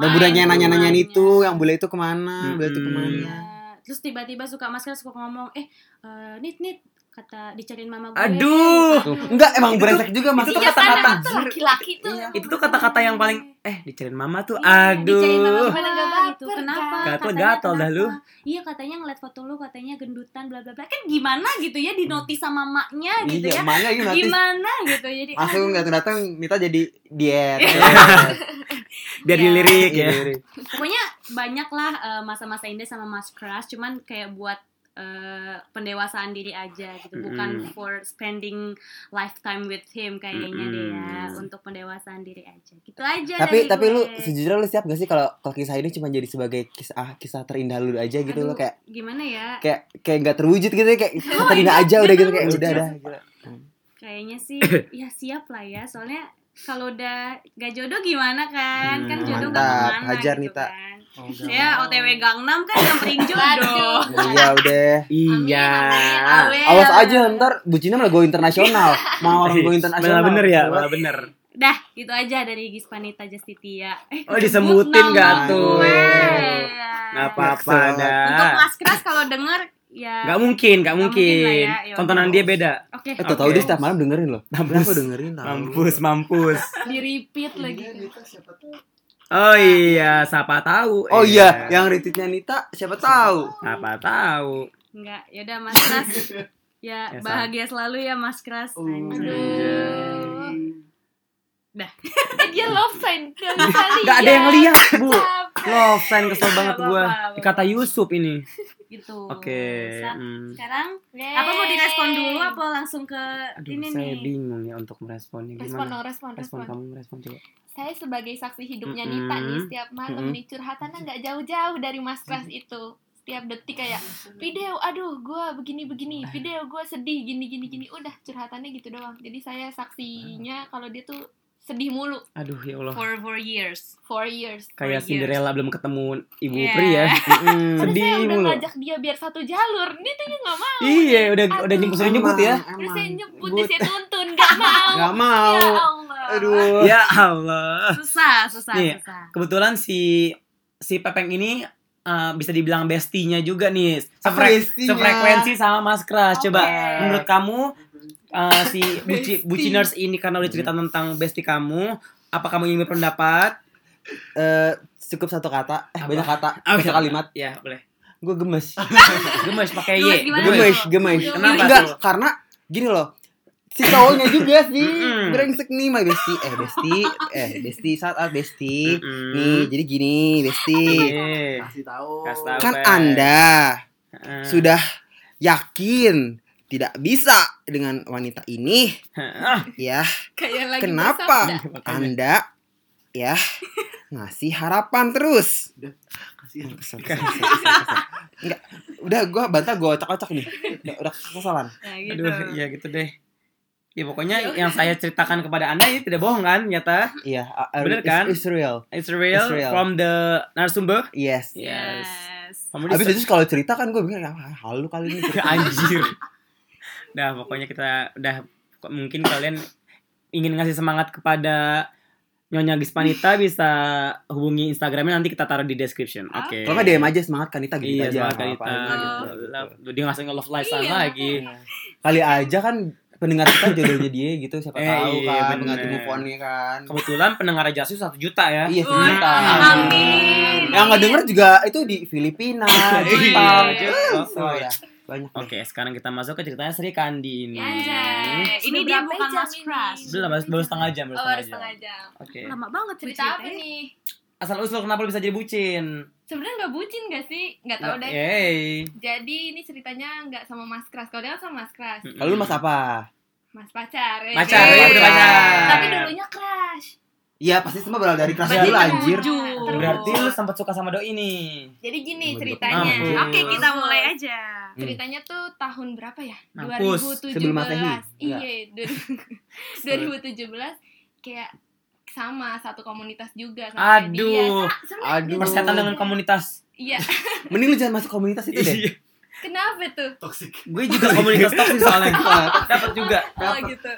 Speaker 2: Nah, budaknya yang nanya-nanyain itu, yang bule itu kemana, bule itu
Speaker 3: Mm-mm.
Speaker 2: kemana.
Speaker 5: Nah, terus tiba-tiba suka masker suka ngomong eh eh, nit nit kata dicariin mama gue
Speaker 3: Aduh.
Speaker 2: Tuh. Enggak, emang
Speaker 3: Itu-
Speaker 2: brengsek juga
Speaker 3: itu
Speaker 2: maksudnya.
Speaker 3: tuh kata-kata.
Speaker 4: Anak tuh Iya, laki-laki tuh.
Speaker 2: Iya.
Speaker 3: Itu tuh kata-kata yang paling eh dicariin mama tuh.
Speaker 5: Iya, dicariin mama
Speaker 3: Aduh.
Speaker 5: gue dan gak bang itu
Speaker 4: Lapar,
Speaker 5: kenapa
Speaker 3: Gatel,
Speaker 5: Katanya
Speaker 3: gatel dah lu.
Speaker 5: kenapa? iya katanya ngeliat foto lu katanya gendutan bla bla bla kan gimana gitu ya di notis sama maknya gitu
Speaker 2: Iya,
Speaker 5: ya
Speaker 2: emaknya ini nanti
Speaker 5: gimana gitu jadi
Speaker 2: langsung
Speaker 5: aduh.
Speaker 2: nggak datang Nita jadi diet. gitu.
Speaker 3: Biar
Speaker 5: Iya.
Speaker 3: dilirik ya.
Speaker 5: pokoknya banyak lah eh, masa-masa indah sama mas crush cuman kayak buat eh, pendewasaan diri aja gitu bukan
Speaker 3: Mm-mm.
Speaker 5: for spending lifetime with him kayaknya deh ya
Speaker 3: Mm-mm.
Speaker 5: untuk pendewasaan diri aja gitu aja
Speaker 2: tapi
Speaker 5: dari
Speaker 2: tapi lu
Speaker 5: gue.
Speaker 2: sejujurnya lu siap gak sih kalau kalau kisah ini cuma jadi sebagai kisah ah, kisah terindah lu aja gitu lo
Speaker 5: Aduh,
Speaker 2: kayak
Speaker 5: gimana ya
Speaker 2: kayak kayak nggak terwujud gitu ya kayak
Speaker 5: Oh,
Speaker 2: terindah aja udah gitu kayak
Speaker 5: bener.
Speaker 2: udah dah gitu.
Speaker 5: kayaknya sih ya siap lah ya soalnya kalau udah gak jodoh gimana kan kan
Speaker 3: Hmm,
Speaker 5: jodoh
Speaker 2: mantap.
Speaker 5: gak kemana
Speaker 2: Hajar, Oh,
Speaker 5: gitu
Speaker 2: Nita.
Speaker 5: kan ya otw Gangnam kan nyamperin
Speaker 4: Aduh.
Speaker 5: jodoh
Speaker 2: Iya udah.
Speaker 3: Iya.
Speaker 5: Amin, amin.
Speaker 2: Awas aja ntar bucinnya malah go internasional. Mau orang go internasional.
Speaker 3: Malah bener ya,
Speaker 2: Coba.
Speaker 3: malah bener.
Speaker 5: Dah, itu aja dari Gispanita Justitia. Eh,
Speaker 3: Oh, disebutin
Speaker 5: nama
Speaker 3: gak
Speaker 2: tuh?
Speaker 5: gue.
Speaker 3: Nggak
Speaker 2: Maksud.
Speaker 3: apa-apa
Speaker 5: Untuk
Speaker 3: dah.
Speaker 5: Mas Kras kalau denger ya
Speaker 3: Gak mungkin, gak
Speaker 5: Nggak mungkin lah
Speaker 3: mungkin.
Speaker 5: ya, ya
Speaker 3: Tontonan
Speaker 5: udah.
Speaker 3: dia beda.
Speaker 5: oke
Speaker 2: Eh, tau tau
Speaker 3: Oke.
Speaker 2: dia setiap malam dengerin loh. Kenapa
Speaker 3: Mampus,
Speaker 2: dengerin? tahu.
Speaker 3: mampus, mampus.
Speaker 4: Di repeat lagi.
Speaker 6: Iya, Dita, siapa tahu.
Speaker 3: Oh iya, siapa tahu?
Speaker 2: Oh iya, yang retweetnya Nita siapa tahu?
Speaker 3: Siapa tahu?
Speaker 5: Enggak, yaudah Mas Kras. Ya,
Speaker 3: Ya,
Speaker 5: bahagia selalu ya Mas Kras.
Speaker 6: Oh,
Speaker 5: Anjay.
Speaker 4: Eh, dia love sign Gak bisa
Speaker 3: Gak ada yang lihat, Bu.
Speaker 4: Apa?
Speaker 3: Love sign kesel
Speaker 5: Gak
Speaker 3: banget gua.
Speaker 5: Iya, apa-apa.
Speaker 3: Dikata Yusuf ini.
Speaker 5: Gitu.
Speaker 3: Oke.
Speaker 5: Sa-
Speaker 3: hmm.
Speaker 5: Sekarang eh. apa mau direspon dulu apa langsung ke
Speaker 3: Aduh,
Speaker 5: ini
Speaker 3: saya
Speaker 5: nih?
Speaker 3: bingung ya untuk meresponnya
Speaker 4: Respon
Speaker 3: gimana.
Speaker 4: dong, respon,
Speaker 3: Respon
Speaker 4: respon.
Speaker 3: kamu merespon coba.
Speaker 4: Saya sebagai saksi hidupnya
Speaker 3: Mm-mm.
Speaker 4: Nita nih setiap malam
Speaker 2: Mm-mm.
Speaker 4: nih curhatannya nggak jauh-jauh dari Mas Kras itu. Setiap detik kayak video, aduh gua begini-begini, video gua sedih gini-gini gini. Udah curhatannya gitu doang. Jadi saya saksinya kalau dia tuh sedih mulu
Speaker 3: Aduh ya Allah.
Speaker 5: For four years.
Speaker 4: for years.
Speaker 3: Kayak
Speaker 5: years. Iya.
Speaker 3: Cinderella belum ketemu ibu
Speaker 5: Yeah.
Speaker 3: pria. Mm-mm,
Speaker 4: Terus
Speaker 3: Sedih
Speaker 4: saya udah
Speaker 3: mulu.
Speaker 4: ngajak dia biar satu jalur, dia tuh nggak mau.
Speaker 3: Iya, udah
Speaker 4: Aduh.
Speaker 3: udah nyebut suruh nyebut ya.
Speaker 4: Terus saya nyebut,
Speaker 2: But-
Speaker 4: saya tuntun, nggak mau.
Speaker 2: Gak
Speaker 4: Ya
Speaker 2: mau.
Speaker 4: Allah.
Speaker 2: Aduh.
Speaker 3: Ya Allah.
Speaker 5: Susah, susah,
Speaker 3: Nih.
Speaker 5: susah.
Speaker 3: Kebetulan si si Pepeng ini eh, bisa dibilang bestinya juga nih. Sefre-
Speaker 2: Bestinya.
Speaker 3: Sefrekuensi sama Mas Kras. Coba
Speaker 5: Oke.
Speaker 3: menurut kamu eh, si buci, buciners ini karena udah cerita tentang besti kamu, apa kamu ingin berpendapat?
Speaker 2: Eh, cukup satu kata, eh,
Speaker 3: Apa?
Speaker 2: banyak kata,
Speaker 3: Ah,
Speaker 2: satu kalimat.
Speaker 3: Ya, boleh.
Speaker 2: Gue gemes.
Speaker 3: Gemes pakai
Speaker 5: Gemes
Speaker 3: Y.
Speaker 5: gimana
Speaker 3: Gemes.
Speaker 2: gemes, gemes.
Speaker 5: Kenapa
Speaker 2: Enggak,
Speaker 3: tuh?
Speaker 2: karena gini loh. Si cowoknya juga sih
Speaker 3: Mm-mm.
Speaker 2: brengsek nih my besti. Eh besti, eh besti saat out besti.
Speaker 3: Mm-mm.
Speaker 2: Nih, jadi gini besti.
Speaker 3: Iya.
Speaker 6: Kasih tahu.
Speaker 3: Kasih tahu. Eh.
Speaker 2: Kan
Speaker 3: Apa?
Speaker 2: Anda
Speaker 3: Heeh.
Speaker 2: sudah yakin tidak bisa dengan wanita ini,
Speaker 3: Heeh.
Speaker 2: ya.
Speaker 4: Kayak lagi
Speaker 2: Kenapa
Speaker 4: bersabda.
Speaker 2: Ah, Anda ya ngasih harapan terus?
Speaker 6: Kasih
Speaker 2: Eh, kesel, kesel, kesel, kesel, kesel. Enggak, udah gua bantah gua kocak-kocak nih. Udah, udah kesalan.
Speaker 5: Ya, gitu.
Speaker 3: Aduh, ya gitu deh. Ya pokoknya yang saya ceritakan kepada Anda ini tidak bohong kan, nyata.
Speaker 2: Iya, uh, uh,
Speaker 3: Bener
Speaker 2: it's-
Speaker 3: kan?
Speaker 2: It's real.
Speaker 3: It's real,
Speaker 2: It's real.
Speaker 3: from the narasumber.
Speaker 2: Yes.
Speaker 3: Iya.
Speaker 5: Yes.
Speaker 3: Kamu
Speaker 2: Abis
Speaker 3: dis-
Speaker 2: itu kalau cerita kan gue bingung, ah, halu kali ini.
Speaker 3: anjir. Nah, pokoknya kita udah mungkin kalian ingin ngasih semangat kepada Nyonya Gispanita bisa hubungi Instagramnya nanti kita taruh di description. Oke.
Speaker 2: Kalau nggak DM aja semangat Kanita gitu
Speaker 3: Iya,
Speaker 2: aja.
Speaker 3: semangat
Speaker 2: nggak
Speaker 3: Kanita.
Speaker 2: apa-apa gitu.
Speaker 3: Love- Dia ngasih nge-love lifestyle
Speaker 4: Iya,
Speaker 3: lagi.
Speaker 2: Kali aja kan pendengar kita jodohnya dia gitu, siapa
Speaker 3: Eh,
Speaker 2: tahu
Speaker 3: iya,
Speaker 2: kan
Speaker 3: bener.
Speaker 2: pengantin move on-nya kan.
Speaker 3: Kebetulan pendengar Jasus 1 juta ya.
Speaker 2: Iya,
Speaker 5: Wah,
Speaker 2: sejuta.
Speaker 5: amin.
Speaker 2: Yang nggak denger juga itu di Filipina, Jepang,
Speaker 5: Iya.
Speaker 2: Jepang. Oh ya, banyak. deh.
Speaker 3: Oke, sekarang kita masuk ke ceritanya Sri Kandi ini.
Speaker 5: Anjay. Ini
Speaker 4: Sudah
Speaker 5: dia
Speaker 4: berapa
Speaker 5: bukan
Speaker 4: jam
Speaker 5: Mas
Speaker 4: ini?
Speaker 5: Kras.
Speaker 3: Belum, baru, baru setengah jam, baru
Speaker 4: Iya. Oh,
Speaker 3: setengah
Speaker 4: harus
Speaker 3: jam.
Speaker 4: setengah jam.
Speaker 3: Oke.
Speaker 5: Lama banget
Speaker 4: Cerita apa
Speaker 5: ceritanya.
Speaker 4: nih?
Speaker 3: Asal usul kenapa lu bisa jadi bucin?
Speaker 4: Sebenarnya nggak bucin gak sih? Nggak tahu deh.
Speaker 3: Yeay.
Speaker 4: Jadi ini ceritanya nggak sama Mas Kras. Kalau dia kan sama Mas Kras,
Speaker 2: Lalu mas apa?
Speaker 4: Mas pacar. eh.
Speaker 3: Pacar,
Speaker 4: Yeay.
Speaker 3: ya udah pacar.
Speaker 4: Tapi dulunya crush.
Speaker 2: Iya pasti semua berawal dari kelas
Speaker 5: Berarti
Speaker 2: dulu
Speaker 5: kan
Speaker 2: anjir.
Speaker 5: wujud.
Speaker 4: Terus.
Speaker 3: Berarti lu sempat suka sama doi nih.
Speaker 4: Jadi gini
Speaker 2: Waduh.
Speaker 4: ceritanya.
Speaker 3: Mampus.
Speaker 5: Oke, kita mulai aja.
Speaker 2: Hmm.
Speaker 4: Ceritanya tuh tahun berapa ya?
Speaker 3: Mm. Mampus,
Speaker 4: 2017.
Speaker 2: sebelum Masehi. Enggak.
Speaker 4: Iya, du- 2017 kayak sama satu komunitas juga sama kayak
Speaker 3: Aduh.
Speaker 4: dia. Sa- sebenarnya
Speaker 2: Aduh.
Speaker 4: gitu.
Speaker 3: Persetan dengan komunitas.
Speaker 4: Iya.
Speaker 2: Mending lu jangan masuk komunitas itu
Speaker 3: Iya.
Speaker 2: deh.
Speaker 4: Kenapa tuh?
Speaker 6: Toxic.
Speaker 3: Gue juga komunitas toksis soalnya. Dapat juga.
Speaker 4: Oh gitu.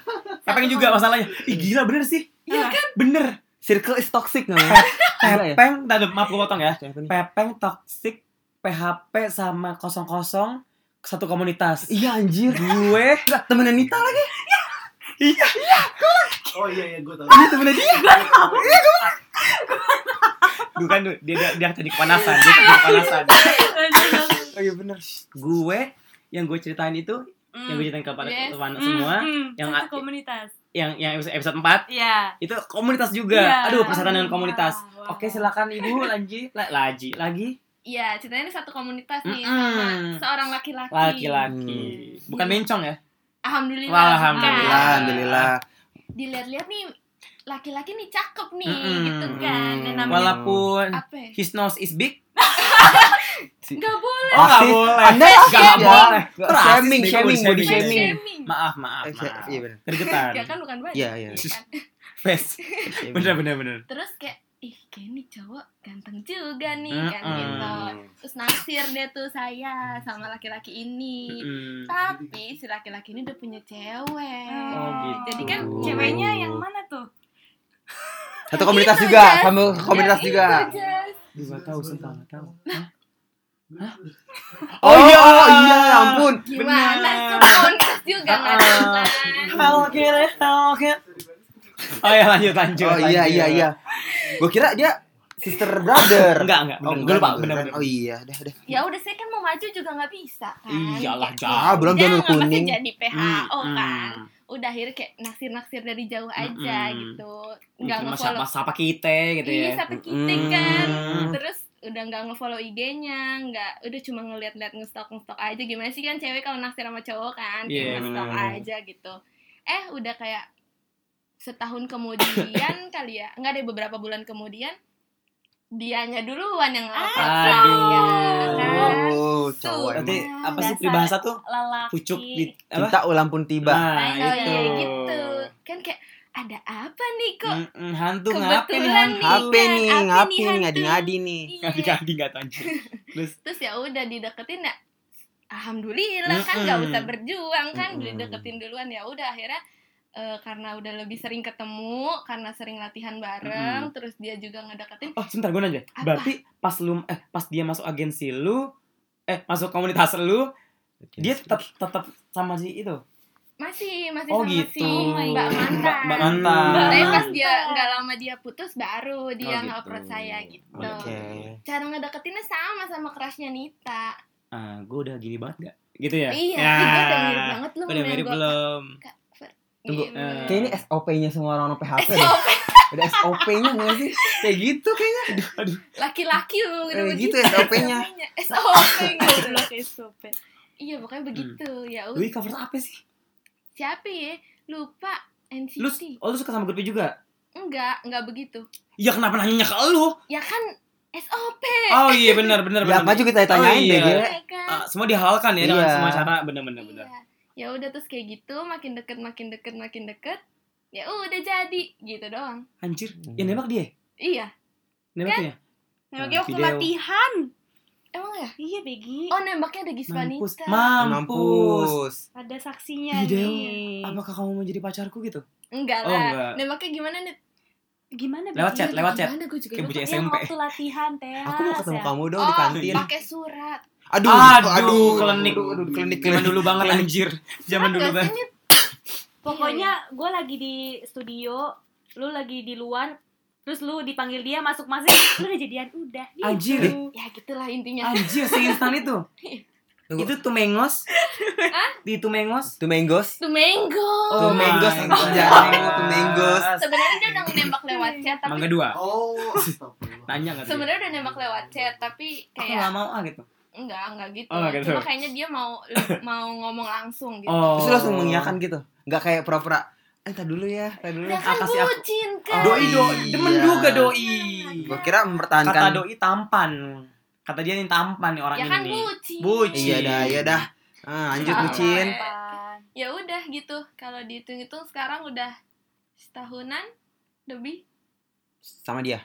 Speaker 3: Pepeng juga masalahnya. Ih gila bener sih.
Speaker 4: Iya
Speaker 3: kan? Bener.
Speaker 2: Circle is toxic namanya. Enggak ya?
Speaker 3: Pepeng, tadi maaf gue potong ya.
Speaker 2: Siapa nih?
Speaker 3: Pepeng toxic PHP sama 00 satu komunitas.
Speaker 2: Iya anjir.
Speaker 3: Gue
Speaker 2: Enggak, temennya Nita lagi.
Speaker 6: Oh iya iya gue tahu.
Speaker 2: Ini temennya dia.
Speaker 3: bukan Du. kan dia dia, dia tadi kepanasan, dia tadi kepanasan.
Speaker 2: Oh iya bener. Shh.
Speaker 3: gue yang gue ceritain itu, yang gue ceritain kepada
Speaker 4: Yes.
Speaker 3: teman
Speaker 5: Mm,
Speaker 3: semua,
Speaker 5: mm.
Speaker 3: yang-
Speaker 5: Satu komunitas.
Speaker 3: yang yang episode, episode 4
Speaker 5: Iya.
Speaker 3: itu komunitas juga.
Speaker 5: Iya.
Speaker 3: Aduh, persetan dengan
Speaker 4: Wah,
Speaker 3: komunitas.
Speaker 4: wah.
Speaker 3: Oke, silakan Ibu lanji, La- laji lagi.
Speaker 4: Iya, ceritanya ini satu komunitas nih
Speaker 3: Mm-mm.
Speaker 4: sama seorang laki-laki.
Speaker 3: Laki-laki.
Speaker 4: Hmm.
Speaker 3: Bukan mencong ya?
Speaker 4: Alhamdulillah.
Speaker 3: Wah,
Speaker 4: bukan.
Speaker 3: alhamdulillah.
Speaker 2: Alhamdulillah.
Speaker 4: Dilihat-lihat nih laki-laki nih cakep nih
Speaker 3: Mm-mm.
Speaker 4: gitu kan. Dan
Speaker 2: Mm.
Speaker 4: namanya
Speaker 3: Walaupun
Speaker 4: apa? ya?
Speaker 3: his nose is big,
Speaker 4: Nggak boleh.
Speaker 3: Oh, nggak
Speaker 2: Rasis.
Speaker 3: boleh.
Speaker 2: Anda
Speaker 3: Nggak
Speaker 2: rasis ya.
Speaker 3: boleh.
Speaker 2: Nggak,
Speaker 3: Rasis,
Speaker 2: Shaming,
Speaker 3: bego,
Speaker 2: shaming, body
Speaker 3: shaming.
Speaker 2: shaming.
Speaker 4: Shaming.
Speaker 3: maaf, maaf,
Speaker 2: Eh,
Speaker 3: maaf.
Speaker 2: Iya bener.
Speaker 4: Ya
Speaker 3: Gergetan.
Speaker 4: kan bukan banyak.
Speaker 2: Iya, iya.
Speaker 4: kan?
Speaker 3: Face.
Speaker 2: Iya,
Speaker 3: Bener, bener, bener.
Speaker 4: Terus kayak ih kayak nih cowok ganteng juga nih kan
Speaker 3: Mm-mm.
Speaker 4: gitu. Terus naksir deh tuh saya sama laki-laki
Speaker 2: Iya.
Speaker 4: ini.
Speaker 3: Mm.
Speaker 4: Tapi si laki-laki ini udah punya cewek.
Speaker 5: Oh,
Speaker 3: gitu.
Speaker 4: Jadi kan
Speaker 2: Oh.
Speaker 5: Ceweknya yang mana tuh?
Speaker 2: Satu komunitas
Speaker 4: Itu
Speaker 2: juga,
Speaker 4: aja.
Speaker 2: sama komunitas
Speaker 4: Ya,
Speaker 2: juga.
Speaker 4: itu, Jas.
Speaker 3: Gue gak tau sih, gak tau. Hah?
Speaker 2: Oh, iya, oh, iya, ampun.
Speaker 4: Gimana?
Speaker 3: Benar.
Speaker 4: Kontras juga
Speaker 3: Ah,
Speaker 4: nggak ada
Speaker 2: Nah.
Speaker 4: kan?
Speaker 3: Hello Kitty, Hello Kitty. Oh ya lanjut lanjut.
Speaker 2: Oh iya
Speaker 3: lanjut.
Speaker 2: iya iya. Gue kira dia sister brother.
Speaker 3: Enggak enggak.
Speaker 2: Oh,
Speaker 3: Gue lupa bener
Speaker 2: beneran.
Speaker 3: bener.
Speaker 2: Oh iya, udah udah.
Speaker 4: Ya udah saya kan mau maju juga nggak bisa kan.
Speaker 3: Iyalah
Speaker 4: Ya,
Speaker 3: jangan.
Speaker 2: Ah, belum
Speaker 4: Jangan
Speaker 2: jalur
Speaker 4: pasti
Speaker 2: kuning.
Speaker 4: jadi
Speaker 2: Ah,
Speaker 3: Hmm,
Speaker 2: oh,
Speaker 4: PHO
Speaker 3: hmm.
Speaker 4: kan. Udah akhirnya kayak naksir-naksir dari jauh aja
Speaker 3: Mm-mm.
Speaker 4: gitu. Nggak
Speaker 3: Mungkin mas
Speaker 4: ngefollow.
Speaker 3: siapa siapa kita gitu
Speaker 4: Iya,
Speaker 3: ya.
Speaker 4: sampai kita kan.
Speaker 2: Hmm.
Speaker 3: Mm.
Speaker 4: Terus udah nggak ngefollow IG-nya, nggak udah cuma ngeliat-liat ngestok ngestok aja. Gimana sih kan cewek kalau naksir sama cowok kan,
Speaker 3: Iya,
Speaker 4: kayak ngestok
Speaker 3: bener.
Speaker 4: aja gitu. Eh udah kayak setahun kemudian kali ya, nggak ada beberapa bulan kemudian dianya duluan yang Kan? apa? Nah,
Speaker 3: Aduh.
Speaker 2: Oh, cowok
Speaker 3: Berarti
Speaker 2: emang.
Speaker 5: Nah,
Speaker 3: apa sih
Speaker 5: dasar
Speaker 3: peribahasa tuh?
Speaker 5: lelaki
Speaker 3: Pucuk di apa?
Speaker 2: Cinta ulang pun tiba.
Speaker 3: Nah,
Speaker 4: oh
Speaker 3: itu.
Speaker 4: iya gitu. Kan kayak ada apa nih kok?
Speaker 3: Mm-mm, hantu ngapain
Speaker 4: Kebetulan
Speaker 3: hantu?
Speaker 4: nih.
Speaker 2: HP nih,
Speaker 4: Apa Iya, nih,
Speaker 2: ngapin
Speaker 4: hantu?
Speaker 2: ngadi-ngadi nih.
Speaker 4: Iya.
Speaker 3: Ngadi-ngadi nggak tahu anjir. Terus
Speaker 4: terus ya udah dideketin ya alhamdulillah kan
Speaker 3: Mm-mm.
Speaker 4: nggak usah berjuang kan
Speaker 3: Mm-mm.
Speaker 4: dideketin duluan ya udah akhirnya eh, karena udah lebih sering ketemu karena sering latihan bareng terus dia juga ngedeketin
Speaker 3: oh sebentar gue nanya.
Speaker 4: Apa?
Speaker 3: Berarti pas lu eh pas dia masuk agensi lu eh masuk komunitas lu dia tetap tetap sama si itu.
Speaker 4: masih masih
Speaker 3: Oh
Speaker 4: sama
Speaker 3: gitu.
Speaker 4: si mbak mantan
Speaker 3: Mbak, Mbak mantan.
Speaker 4: Tapi
Speaker 5: Mbak
Speaker 4: pas
Speaker 5: Mantan.
Speaker 4: dia nggak lama dia putus baru
Speaker 3: Oh,
Speaker 4: dia
Speaker 3: gitu.
Speaker 4: nge-approach saya gitu
Speaker 2: Oke.
Speaker 4: cara ngedeketinnya sama sama crushnya Nita
Speaker 3: Ah, gue udah gini banget gak? Gitu ya?
Speaker 4: iya
Speaker 3: Ya.
Speaker 4: gue udah mirip banget
Speaker 3: Gua
Speaker 4: lu
Speaker 3: udah
Speaker 4: sama yang
Speaker 3: mirip
Speaker 4: gua-
Speaker 3: belum? Tunggu,
Speaker 4: Iya, bener.
Speaker 3: eh,
Speaker 2: Kayak ini SOP-nya semua orang-orang PHP deh. Udah SOP-nya gak sih? Kayak gitu kayaknya.
Speaker 4: laki-laki lu udah
Speaker 2: Eh,
Speaker 4: begitu
Speaker 2: gitu ya SOP-nya.
Speaker 4: namanya. SOP gitu
Speaker 5: goblok SOP.
Speaker 4: Iya pokoknya begitu ya.
Speaker 3: Hmm. Lu
Speaker 4: udah.
Speaker 3: cover apa sih?
Speaker 4: Siapa ya? Lupa NCT.
Speaker 3: Lu, oh, lu suka sama grupnya juga?
Speaker 4: Enggak, enggak begitu.
Speaker 3: Ya kenapa nanyanya ke lu?
Speaker 4: Ya kan SOP.
Speaker 3: Oh iya benar benar
Speaker 2: Ya
Speaker 3: benar.
Speaker 2: maju kita tanyain
Speaker 3: Oh,
Speaker 2: deh.
Speaker 3: iya.
Speaker 2: Ge.
Speaker 4: Iya kan?
Speaker 3: Ah, semua dihalalkan ya dengan
Speaker 2: Iya.
Speaker 3: semua cara benar benar benar.
Speaker 4: Iya. Ya udah terus kayak gitu makin deket makin deket makin deket. Ya udah jadi gitu doang.
Speaker 3: Anjir, ya nembak dia.
Speaker 4: Iya.
Speaker 3: Nembaknya.
Speaker 5: Nembaknya waktu
Speaker 3: Video.
Speaker 5: latihan.
Speaker 4: Emang ya?
Speaker 5: Iya, Begi.
Speaker 4: Oh nembaknya ada
Speaker 3: Mampus.
Speaker 4: Gisvanita.
Speaker 3: Mampus.
Speaker 2: Mampus.
Speaker 5: Ada saksinya
Speaker 3: Video.
Speaker 5: nih.
Speaker 3: Apakah kamu mau jadi pacarku gitu?
Speaker 4: Enggak
Speaker 3: Oh,
Speaker 4: lah.
Speaker 3: enggak.
Speaker 4: Nembaknya gimana Iya, nih?
Speaker 5: Gimana
Speaker 3: Lewat chat, lewat chat.
Speaker 4: Gimana gue juga
Speaker 3: Kayak
Speaker 4: lupa.
Speaker 3: bocah
Speaker 5: Yang
Speaker 3: SMP.
Speaker 5: waktu latihan, Teh.
Speaker 2: Aku mau ketemu kamu dong di
Speaker 4: Oh,
Speaker 2: kantin.
Speaker 4: pakai surat.
Speaker 2: Aduh,
Speaker 3: Aduh, klinik.
Speaker 2: Aduh, aduh, klinik,
Speaker 3: Zaman
Speaker 2: klinik.
Speaker 3: dulu banget anjir. Zaman dulu banget.
Speaker 4: Biasanya
Speaker 5: Pokoknya gue lagi di studio, lu lagi di luar, terus lu dipanggil dia masuk masuk, lu udah jadian udah. gitu.
Speaker 3: Anjir.
Speaker 4: ya gitulah intinya.
Speaker 3: Anjir seinstan itu.
Speaker 2: Tunggu.
Speaker 3: Itu tumengos. Di tumengos.
Speaker 2: Tuh manggos.
Speaker 4: Tuh menggo.
Speaker 3: Oh.
Speaker 2: Tuh manggos
Speaker 3: my
Speaker 2: anjing
Speaker 3: God.
Speaker 2: jarang tuh manggos.
Speaker 4: sebenarnya dia udah nembak lewat chat tapi
Speaker 3: Mangga dua.
Speaker 6: Oh, astagfirullah.
Speaker 3: Tanya enggak?
Speaker 4: sebenarnya udah nembak lewat chat tapi
Speaker 3: aku nggak
Speaker 4: kayak
Speaker 3: mau ah gitu.
Speaker 4: enggak enggak gitu.
Speaker 3: Oh, enggak gitu.
Speaker 4: Cuma kayaknya dia mau le- mau ngomong langsung gitu.
Speaker 3: Oh.
Speaker 2: Terus lu langsung mengiyakan gitu. Enggak kayak pura-pura. Eh, ntar dulu ya, ntar dulu.
Speaker 4: Dia
Speaker 3: Ah,
Speaker 2: ya."
Speaker 4: kan
Speaker 3: kasih aku. Oh,
Speaker 4: bucin kan.
Speaker 3: Doi doi, demen
Speaker 2: Iya.
Speaker 3: juga doi.
Speaker 4: iya.
Speaker 2: Gua kira
Speaker 3: Kata
Speaker 2: mempertahankan.
Speaker 3: doi tampan. Kata dia ini tampan nih orang
Speaker 4: ya
Speaker 3: ini
Speaker 4: kan
Speaker 3: nih.
Speaker 4: bucin.
Speaker 3: Bucin.
Speaker 2: Iya dah, iya dah. Ah, lanjut
Speaker 4: Ah.
Speaker 2: bucin.
Speaker 4: Ya udah gitu. Kalau dihitung-hitung sekarang udah setahunan lebih.
Speaker 2: Sama dia.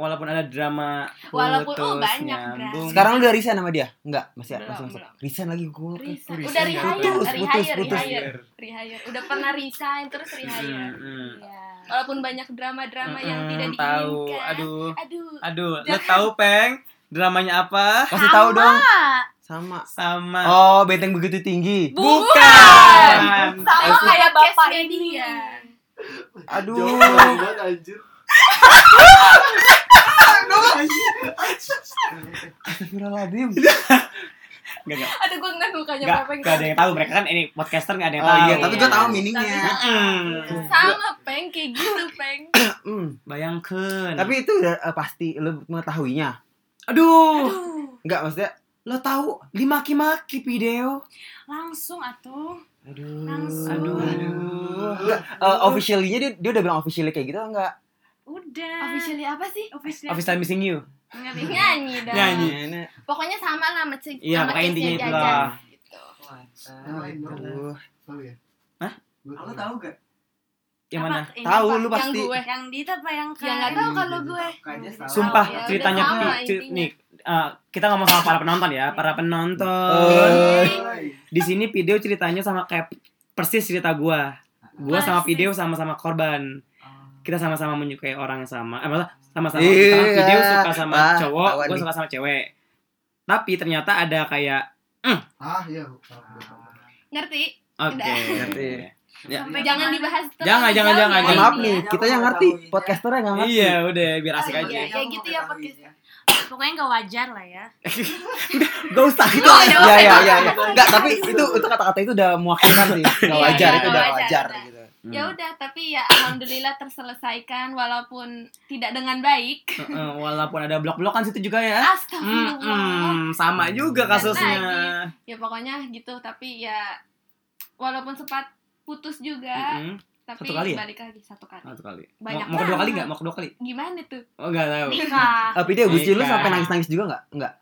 Speaker 3: Walaupun ada drama
Speaker 4: Walaupun-
Speaker 3: putus,
Speaker 4: oh, banyak
Speaker 3: nyambung.
Speaker 4: drama. Iya,
Speaker 2: Sekarang lu udah resign sama dia? Enggak, masih
Speaker 4: Belum,
Speaker 2: masih masuk.
Speaker 4: belum.
Speaker 2: Resign lagi gua.
Speaker 4: Resign.
Speaker 2: Resign.
Speaker 3: ya,
Speaker 4: Udah
Speaker 2: Putus,
Speaker 4: rehire,
Speaker 5: resign.
Speaker 2: putus,
Speaker 4: rehire,
Speaker 2: putus.
Speaker 3: Iya,
Speaker 4: rehire, rehire. Udah pernah resign terus
Speaker 3: Hmm,
Speaker 4: rehire.
Speaker 3: hmm.
Speaker 5: ya.
Speaker 4: Walaupun banyak drama-drama iya, yang
Speaker 3: Mm-mm,
Speaker 4: tidak
Speaker 3: tahu.
Speaker 4: diinginkan.
Speaker 3: Aduh,
Speaker 4: Aduh.
Speaker 3: aduh. Lo tahu peng dramanya apa?
Speaker 2: Kasih tahu dong.
Speaker 5: Ah,
Speaker 2: Sama.
Speaker 3: Sama.
Speaker 2: Oh, benteng begitu tinggi.
Speaker 3: Bukan.
Speaker 4: Sama
Speaker 5: Aku-
Speaker 4: kayak bapak
Speaker 5: Case-nya
Speaker 4: ini
Speaker 5: dia.
Speaker 4: ya.
Speaker 2: Aduh.
Speaker 6: Jauh banget anjir.
Speaker 2: Astagfirullahaladzim.
Speaker 3: Nggak, nggak.
Speaker 4: Aduh gue ngeliat mukanya
Speaker 3: Nggak,
Speaker 4: Pepeng
Speaker 3: nggak ada yang tahu. Mereka kan ini podcaster nggak ada yang
Speaker 2: Oh
Speaker 3: tahu.
Speaker 2: iya, tapi gua
Speaker 4: Iya.
Speaker 2: tahu mininya.
Speaker 3: Mm.
Speaker 4: Sama Peng kayak gitu Peng
Speaker 2: Hmm.
Speaker 3: Bayangkan.
Speaker 2: Tapi itu udah eh, pasti lu mengetahuinya.
Speaker 3: aduh,
Speaker 2: Enggak, maksudnya
Speaker 3: lo tahu dimaki-maki video.
Speaker 5: langsung atuh.
Speaker 2: Aduh.
Speaker 5: Langsung.
Speaker 2: Aduh.
Speaker 3: Aduh.
Speaker 2: Enggak, eh, officially-nya dia, dia udah bilang officially kayak gitu atau enggak?
Speaker 5: Udah.
Speaker 4: Officially apa sih?
Speaker 5: Official.
Speaker 3: Office time missing you.
Speaker 5: Nggak beda.
Speaker 4: Nyanyi dong
Speaker 3: Nyanyi.
Speaker 4: Pokoknya sama lah sama Cik
Speaker 3: Iya,
Speaker 4: sama
Speaker 3: pokoknya
Speaker 4: Case-nya
Speaker 3: intinya
Speaker 4: Jajan.
Speaker 3: itulah.
Speaker 4: Gitu.
Speaker 2: Aduh.
Speaker 6: Tahu ya?
Speaker 3: Hah?
Speaker 6: Gua tahu.
Speaker 7: gak?
Speaker 3: Yang
Speaker 5: Apa?
Speaker 3: mana?
Speaker 5: Ini
Speaker 2: Tahu
Speaker 5: apa?
Speaker 2: lu
Speaker 4: Yang
Speaker 2: pasti.
Speaker 4: gue
Speaker 5: Yang di apa yang
Speaker 4: Ya nggak tahu kalau gue
Speaker 7: Kayaknya salah.
Speaker 3: Sumpah
Speaker 4: Ya udah,
Speaker 3: ceritanya
Speaker 4: sama
Speaker 3: nih, cer-
Speaker 4: intinya. Iya.
Speaker 3: nih eh, kita ngomong sama para penonton ya, para penonton.
Speaker 2: Eh.
Speaker 3: Di sini video ceritanya sama kayak persis cerita gua. Gua sama video sama-sama korban.
Speaker 4: Oh.
Speaker 3: Kita sama-sama menyukai orang yang sama. Eh, malah sama-sama. Kita
Speaker 2: Iya.
Speaker 3: video suka sama
Speaker 2: Wah,
Speaker 3: cowok,
Speaker 2: ketahuan
Speaker 3: gua
Speaker 2: nih.
Speaker 3: suka sama cewek. Tapi ternyata ada kayak
Speaker 6: Ah, iya.
Speaker 4: Ngerti?
Speaker 3: oke.
Speaker 4: Udah.
Speaker 3: ngerti. Ya.
Speaker 4: Sampai jangan dibahas terlalu
Speaker 3: Jangan, jangan, jangan,
Speaker 4: jauh ya.
Speaker 2: Mohon
Speaker 3: jangan.
Speaker 2: maaf nih, kita yang ngerti,
Speaker 6: Iya.
Speaker 2: podcasternya nggak ngerti.
Speaker 3: Iya, udah biar asik
Speaker 4: Oh,
Speaker 3: aja.
Speaker 4: iya. kayak gitu ya, podcast.
Speaker 5: Pokoknya nggak wajar lah ya.
Speaker 3: Gak usah. gitu.
Speaker 2: Iya, iya, iya, iya. Enggak, tapi itu itu kata-kata itu udah mewakilkan sih. Nggak
Speaker 4: Iya,
Speaker 2: wajar,
Speaker 4: iya,
Speaker 2: itu udah
Speaker 4: nggak
Speaker 2: wajar
Speaker 4: wajar,
Speaker 2: gitu.
Speaker 3: Hmm.
Speaker 4: Ya udah, tapi ya alhamdulillah terselesaikan walaupun tidak dengan baik.
Speaker 3: Heeh, walaupun ada blok-blokan situ juga ya. Hmm,
Speaker 4: Astagfirullah.
Speaker 3: hmm, sama juga kasusnya.
Speaker 4: Ya pokoknya gitu, tapi ya walaupun sempat putus juga,
Speaker 3: Mm-mm.
Speaker 4: tapi
Speaker 3: Satu kali ya?
Speaker 4: balik lagi satu kali.
Speaker 3: Satu kali.
Speaker 4: Banyak
Speaker 3: mau, mau kedua
Speaker 4: banget.
Speaker 3: kali nggak? Mau kedua kali?
Speaker 4: Gimana tuh?
Speaker 3: Oh nggak tahu.
Speaker 5: Nikah.
Speaker 2: Tapi dia bucin lu
Speaker 3: Iya.
Speaker 2: sampai nangis-nangis juga nggak? Nggak.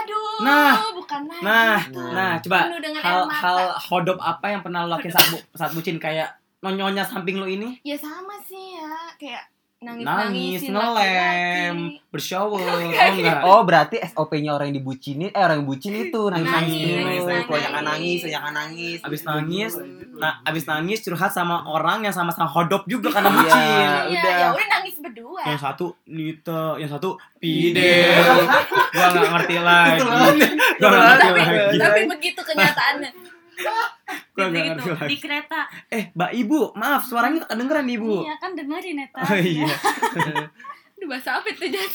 Speaker 4: Aduh,
Speaker 3: Nah.
Speaker 4: bukan Kan nangis
Speaker 3: Nah,
Speaker 4: tuh.
Speaker 3: nah coba
Speaker 4: Penuh dengan air mata.
Speaker 3: hal-hal hodop apa yang pernah lo lakuin saat, bu- saat bucin kayak nonyonya samping lo ini
Speaker 4: Ya sama sih ya, kayak
Speaker 3: nangis,
Speaker 4: nangis-nangisin
Speaker 3: ngelem,
Speaker 4: laki-laki.
Speaker 3: bershower, oh enggak?
Speaker 2: Oh, berarti SOP-nya orang yang dibucinin eh orang yang bucin itu nangis-nangis Iya,
Speaker 3: Nangis,
Speaker 2: dulu.
Speaker 3: nangis,
Speaker 2: Kebanyakan
Speaker 4: nangis.
Speaker 2: nangis, kebanyakan nangis.
Speaker 3: Abis nangis,
Speaker 6: Iya, gitu.
Speaker 3: nah abis nangis curhat sama orang yang sama-sama hodop juga karena
Speaker 2: Iya.
Speaker 3: bucin.
Speaker 4: Iya,
Speaker 2: udah.
Speaker 4: ya udah nangis berdua.
Speaker 3: Yang satu Nita, yang satu Pidel. Gua nggak ngerti lagi.
Speaker 2: Iya.
Speaker 3: Gua nggak ngerti
Speaker 4: tapi,
Speaker 3: lagi.
Speaker 4: tapi begitu Gitu kenyataannya.
Speaker 3: Gua nggak
Speaker 5: gitu,
Speaker 3: ngerti lagi.
Speaker 5: di kereta.
Speaker 3: Eh, Mbak Ibu, maaf suaranya nggak kedengeran nih, Ibu.
Speaker 5: Iya kan dengerin Eta.
Speaker 3: Oh iya,
Speaker 4: Aduh, bahasa apa itu Jas?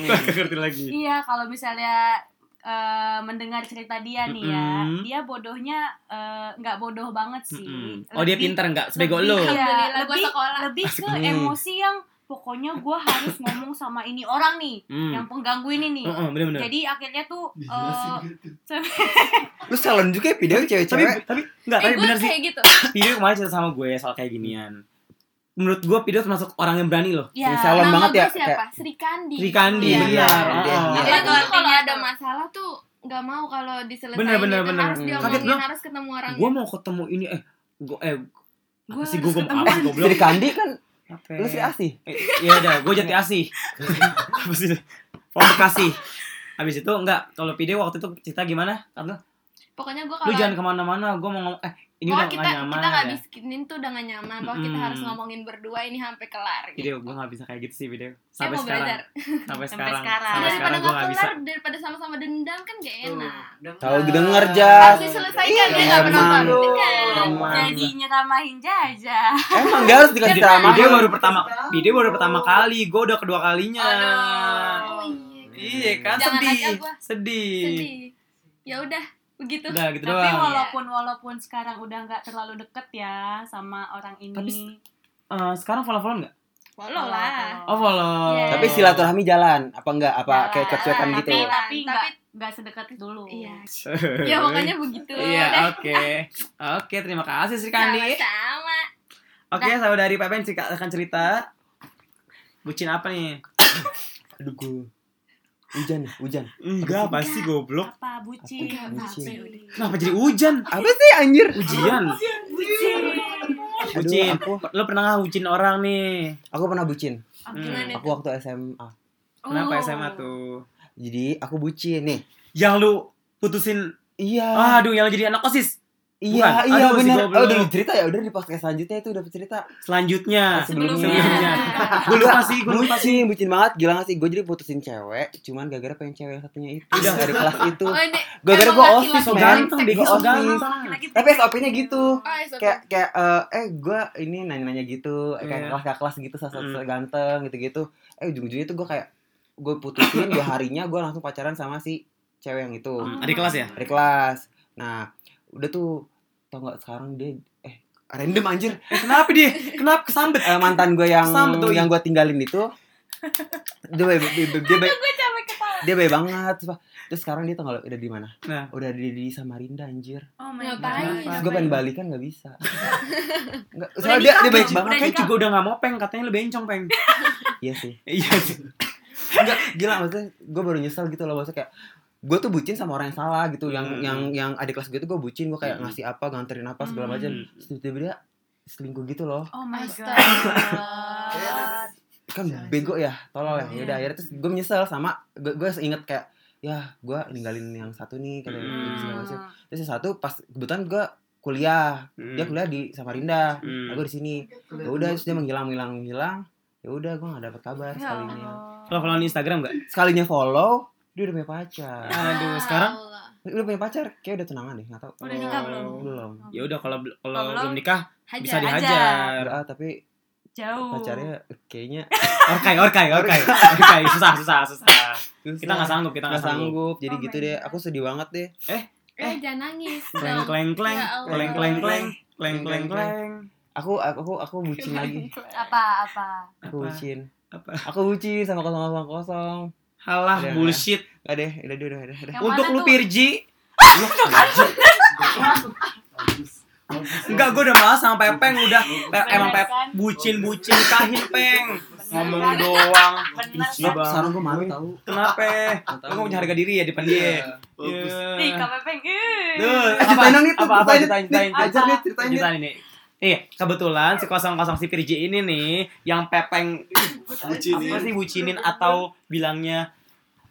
Speaker 3: gua nggak ngerti lagi.
Speaker 5: Iya, kalau misalnya eh, mendengar cerita dia nih ya,
Speaker 3: Mm-mm.
Speaker 5: dia bodohnya eh, nggak bodoh banget sih.
Speaker 3: Mm-mm. Oh dia
Speaker 5: Lebih-
Speaker 3: pinter nggak? Sebego
Speaker 5: lebih-
Speaker 3: lo.
Speaker 5: Iya,
Speaker 4: Alhamdulillah gua
Speaker 5: lebih-
Speaker 4: sekolah.
Speaker 5: lebih ke
Speaker 2: Hmm.
Speaker 5: emosi yang pokoknya gue harus ngomong sama ini orang nih yang
Speaker 3: Hmm.
Speaker 5: pengganggu ini nih
Speaker 3: Heeh, bener-bener.
Speaker 5: jadi akhirnya
Speaker 4: Oh,
Speaker 5: tuh eh,
Speaker 6: gitu.
Speaker 2: Lu salon juga ya, video
Speaker 3: Tapi
Speaker 2: cewek-cewek.
Speaker 3: tapi enggak,
Speaker 4: Eh,
Speaker 3: tapi
Speaker 4: gue
Speaker 3: bener sih.
Speaker 4: kayak gitu.
Speaker 3: Video kemarin cerita sama gue soal kayak ginian. Menurut gue Video termasuk orang yang berani loh.
Speaker 5: ya
Speaker 2: Insya Allah. Tolong
Speaker 4: Nama
Speaker 2: banget ya,
Speaker 4: gue siapa? Sri Kandi.
Speaker 3: Sri Kandi,
Speaker 5: Iya.
Speaker 3: benar.
Speaker 2: Iya,
Speaker 3: Oh.
Speaker 2: iya.
Speaker 4: Dia tuh
Speaker 5: Iya.
Speaker 4: kalau ada
Speaker 5: Iya.
Speaker 4: masalah tuh nggak mau kalau diselesain
Speaker 3: Bener, bener,
Speaker 4: gitu.
Speaker 3: bener.
Speaker 4: harus
Speaker 2: Hmm.
Speaker 3: Kaget
Speaker 4: diomongin
Speaker 3: dong.
Speaker 4: harus ketemu orang
Speaker 3: Gue mau ketemu ini eh gue eh
Speaker 5: Gua
Speaker 3: apa sih
Speaker 5: harus
Speaker 3: gue
Speaker 5: ketemu.
Speaker 3: apa sih goblok?
Speaker 2: Sri Kandi kan
Speaker 3: Apa?
Speaker 2: lu Sri Asih.
Speaker 3: Eh, Iya udah, gue jati asih. Apa sih? From Bekasi. Habis itu enggak, kalau video waktu itu cerita gimana? Tante,
Speaker 4: pokoknya gue
Speaker 3: lu
Speaker 4: kalau
Speaker 3: jangan kemana-mana, gue mau ngomong, eh ini
Speaker 4: Pokoknya
Speaker 3: udah
Speaker 4: kita
Speaker 3: gak nyaman
Speaker 4: kita nggak
Speaker 3: ya.
Speaker 4: bisikin tuh udah gak nyaman bahwa kita
Speaker 3: Mm-mm.
Speaker 4: harus ngomongin berdua ini sampai kelar gitu.
Speaker 3: Video, gue gak bisa kayak gitu sih video
Speaker 4: Saya
Speaker 3: Sampai
Speaker 4: mau
Speaker 3: sekarang
Speaker 4: belajar.
Speaker 3: Sampai
Speaker 5: Sampai
Speaker 3: sekarang Sampai
Speaker 5: sekarang.
Speaker 4: daripada
Speaker 3: sekarang gue
Speaker 4: nggak
Speaker 3: gak bisa
Speaker 4: kelar daripada sama-sama dendam kan gak enak.
Speaker 2: Kalau denger, Jas.
Speaker 4: Harus diselesaikan ya
Speaker 2: Iya,
Speaker 4: nggak
Speaker 2: emang.
Speaker 4: penonton.
Speaker 3: Iya.
Speaker 4: Dengar.
Speaker 2: Emang.
Speaker 5: jadi nyeramahin jaja
Speaker 2: Emang gak harus dikasih ceramah.
Speaker 3: Video baru pertama Video baru pertama kali, gue udah kedua kalinya
Speaker 5: Aduh.
Speaker 4: Oh iya.
Speaker 3: Iya kan,
Speaker 4: Jangan
Speaker 3: sedih
Speaker 4: aja gua.
Speaker 3: Sedih
Speaker 4: Sedih. Ya udah begitu.
Speaker 3: Udah gitu
Speaker 5: tapi
Speaker 3: doang
Speaker 5: walaupun walaupun sekarang udah nggak terlalu deket ya sama orang ini
Speaker 3: Tapi Eh, Sekarang follow-followan gak?
Speaker 4: Follow lah.
Speaker 3: Oh follow
Speaker 4: Iya.
Speaker 2: Tapi silaturahmi jalan apa enggak apa
Speaker 5: Jalan.
Speaker 2: kayak cuek-cuekan
Speaker 5: Tapi-
Speaker 3: ya?
Speaker 2: gitu.
Speaker 5: tapi
Speaker 4: Tapi-
Speaker 5: nggak nggak sedekat dulu
Speaker 4: Iya. Ya pokoknya begitu.
Speaker 3: Iya,
Speaker 4: Udah.
Speaker 3: oke. Oke, terima kasih
Speaker 4: Iya,
Speaker 3: Sri Kandi.
Speaker 4: Sama-sama.
Speaker 3: Oke, saudari Pepen Sri akan cerita bucin apa nih?
Speaker 2: Aduh gua. Hujan, nih, hujan.
Speaker 3: Enggak, pasti goblok.
Speaker 5: apa bucin
Speaker 2: Apa? Bucin.
Speaker 5: Bucin.
Speaker 3: Kenapa jadi hujan?
Speaker 2: Apa sih anjir?
Speaker 3: Ujian. Hmm.
Speaker 2: Aduh,
Speaker 3: Bucin.
Speaker 2: aku
Speaker 3: Lo pernah nggak hucin orang nih?
Speaker 2: aku pernah bucin.
Speaker 5: Apa?
Speaker 4: Gimana
Speaker 3: Hmm.
Speaker 2: Aku
Speaker 4: tuh?
Speaker 2: waktu SMA.
Speaker 3: Kenapa
Speaker 5: Oh.
Speaker 3: SMA tuh?
Speaker 2: Jadi aku bucin nih.
Speaker 3: Yang lu putusin.
Speaker 2: Iya.
Speaker 3: Aduh, yang lu jadi anak OSIS.
Speaker 2: Iya,
Speaker 3: Ah, bukan.
Speaker 2: iya
Speaker 3: Aduh, si
Speaker 2: benar.
Speaker 3: goblok.
Speaker 2: Oh, udah cerita ya, udah di podcast selanjutnya itu udah cerita.
Speaker 3: Selanjutnya.
Speaker 2: Sebelumnya.
Speaker 3: Gue lupa sih, gue lupa sih.
Speaker 2: Bucin, bucin banget, gila gak sih? Gue jadi putusin cewek, cuman gara-gara pengen cewek yang satunya itu
Speaker 3: Udah.
Speaker 2: dari kelas itu.
Speaker 4: Oh, ini
Speaker 2: Gara-gara
Speaker 4: emang
Speaker 2: gue
Speaker 4: laki-laki
Speaker 2: osis,
Speaker 3: So
Speaker 4: Semen.
Speaker 2: men.
Speaker 3: ganteng, Diki
Speaker 2: Gua
Speaker 3: so
Speaker 2: osis.
Speaker 3: ganteng.
Speaker 2: Tapi SOP-nya gitu.
Speaker 4: Oh, it's okay.
Speaker 2: kayak kayak eh, eh gue ini nanya-nanya gitu eh, kayak
Speaker 3: Iya.
Speaker 2: kelas kelas gitu sosok
Speaker 3: Mm.
Speaker 2: ganteng gitu-gitu eh ujung-ujungnya tuh gue kayak gue putusin dua harinya gue langsung pacaran sama si cewek yang itu
Speaker 3: Hmm, Adik kelas ya?
Speaker 2: dari kelas nah udah tuh tau nggak sekarang dia eh random anjir
Speaker 3: Eh, Kenapa dia? Kenapa kesambet?
Speaker 2: Eh, mantan gue yang
Speaker 3: Sama tuh.
Speaker 2: yang gue tinggalin itu dia baik dia baik- dia baik-
Speaker 5: Sampai ketawa.
Speaker 2: dia baik banget Sumpah. terus sekarang dia tanggal udah di mana
Speaker 3: Nah.
Speaker 2: udah di, di Samarinda anjir
Speaker 5: Oh my
Speaker 4: Ngapain?
Speaker 5: God.
Speaker 2: terus gue pengen balikan nggak bisa Nggak,
Speaker 5: Udah
Speaker 2: soalnya dia,
Speaker 5: nikah
Speaker 2: dia baik banget
Speaker 5: belum?
Speaker 2: kan?
Speaker 5: Udah
Speaker 3: Kayak juga udah gak mau peng, katanya lu bencong peng.
Speaker 2: iya sih
Speaker 3: Iya sih.
Speaker 2: Enggak, gila maksudnya gue baru nyesel gitu loh maksudnya kayak gue tuh bucin sama orang yang salah gitu yang
Speaker 3: Hmm.
Speaker 2: yang yang adik kelas gue tuh gue bucin gue kayak
Speaker 3: Hmm.
Speaker 2: ngasih apa nganterin apa segala macam
Speaker 3: Hmm.
Speaker 2: Terus tiba-tiba dia selingkuh gitu loh
Speaker 5: Oh my Ya
Speaker 4: Astaga.
Speaker 5: god.
Speaker 2: kan bego ya tolol ya
Speaker 5: Iya.
Speaker 2: udah akhirnya terus gue menyesal sama gue gue inget kayak ya gue ninggalin yang satu nih kayak
Speaker 3: Hmm.
Speaker 2: gitu segala macam terus yang satu pas kebetulan gue kuliah dia kuliah di Samarinda
Speaker 3: Hmm.
Speaker 2: nah, gue di sini ya udah terus dia menghilang menghilang menghilang ya udah gue gak dapet kabar
Speaker 5: Ya
Speaker 2: sekalinya
Speaker 5: Allah.
Speaker 3: Lo follow di Instagram gak?
Speaker 2: sekalinya follow dia udah punya pacar Eh,
Speaker 3: Aduh, sekarang
Speaker 4: Allah.
Speaker 2: udah punya pacar kayak udah tunangan deh nggak tahu
Speaker 5: Udah nikah belum?
Speaker 2: belum
Speaker 3: ya udah kalau bel- kalau
Speaker 5: Kalau belum,
Speaker 3: belum nikah
Speaker 5: Hajar,
Speaker 3: bisa
Speaker 5: hajar.
Speaker 3: dihajar.
Speaker 2: Ah, tapi
Speaker 5: Jauh.
Speaker 2: pacarnya kayaknya
Speaker 3: Orkai, orkai, orkai. Orkai susah, susah, susah. Kita nggak sanggup, kita
Speaker 2: nggak
Speaker 3: nggak sanggup.
Speaker 2: sanggup jadi
Speaker 5: Oh
Speaker 2: gitu
Speaker 5: my
Speaker 2: deh
Speaker 5: God.
Speaker 2: aku sedih banget deh
Speaker 4: Eh, jangan nangis.
Speaker 3: Kleng
Speaker 4: dong.
Speaker 3: kleng kleng,
Speaker 4: Ya Allah.
Speaker 3: kleng kleng kleng, kleng kleng kleng.
Speaker 2: aku aku aku, aku bucin lagi
Speaker 5: Apa apa?
Speaker 3: Apa?
Speaker 2: aku bucin
Speaker 3: Apa?
Speaker 2: aku bucin sama kosong kosong kosong
Speaker 3: Halah
Speaker 2: Udah.
Speaker 3: bullshit.
Speaker 2: Gak deh, udah udah udah udah.
Speaker 5: Yang
Speaker 3: Untuk
Speaker 5: mana
Speaker 3: lu
Speaker 5: tuh?
Speaker 3: Pirji,
Speaker 6: Bagus. Bagus.
Speaker 3: enggak gua udah malas sama Pepeng udah Pe-
Speaker 5: Bener
Speaker 3: Eh, emang Pep
Speaker 5: kan?
Speaker 3: bucin-bucin kahin Peng.
Speaker 5: Bener
Speaker 3: Ngomong
Speaker 5: kan?
Speaker 3: doang.
Speaker 5: Bener
Speaker 3: Bucin
Speaker 5: kan?
Speaker 3: banget.
Speaker 2: Sarung gue malu tau.
Speaker 3: Kenapa? Lu nggak punya harga diri ya di pendiem.
Speaker 6: Iya. Bagus.
Speaker 3: Iya.
Speaker 5: Ih, KPP. ih.
Speaker 3: Duh,
Speaker 2: Eh,
Speaker 3: apa,
Speaker 2: ceritain dong nih,
Speaker 3: apa, apa,
Speaker 2: ceritain,
Speaker 3: ceritain, ceritain,
Speaker 5: nih, ajar nih,
Speaker 3: ceritain, ini. Iya, kebetulan si kosong kosong si Pirji ini nih, yang pepeng
Speaker 6: Bucinin.
Speaker 3: apa sih bucinin atau bilangnya,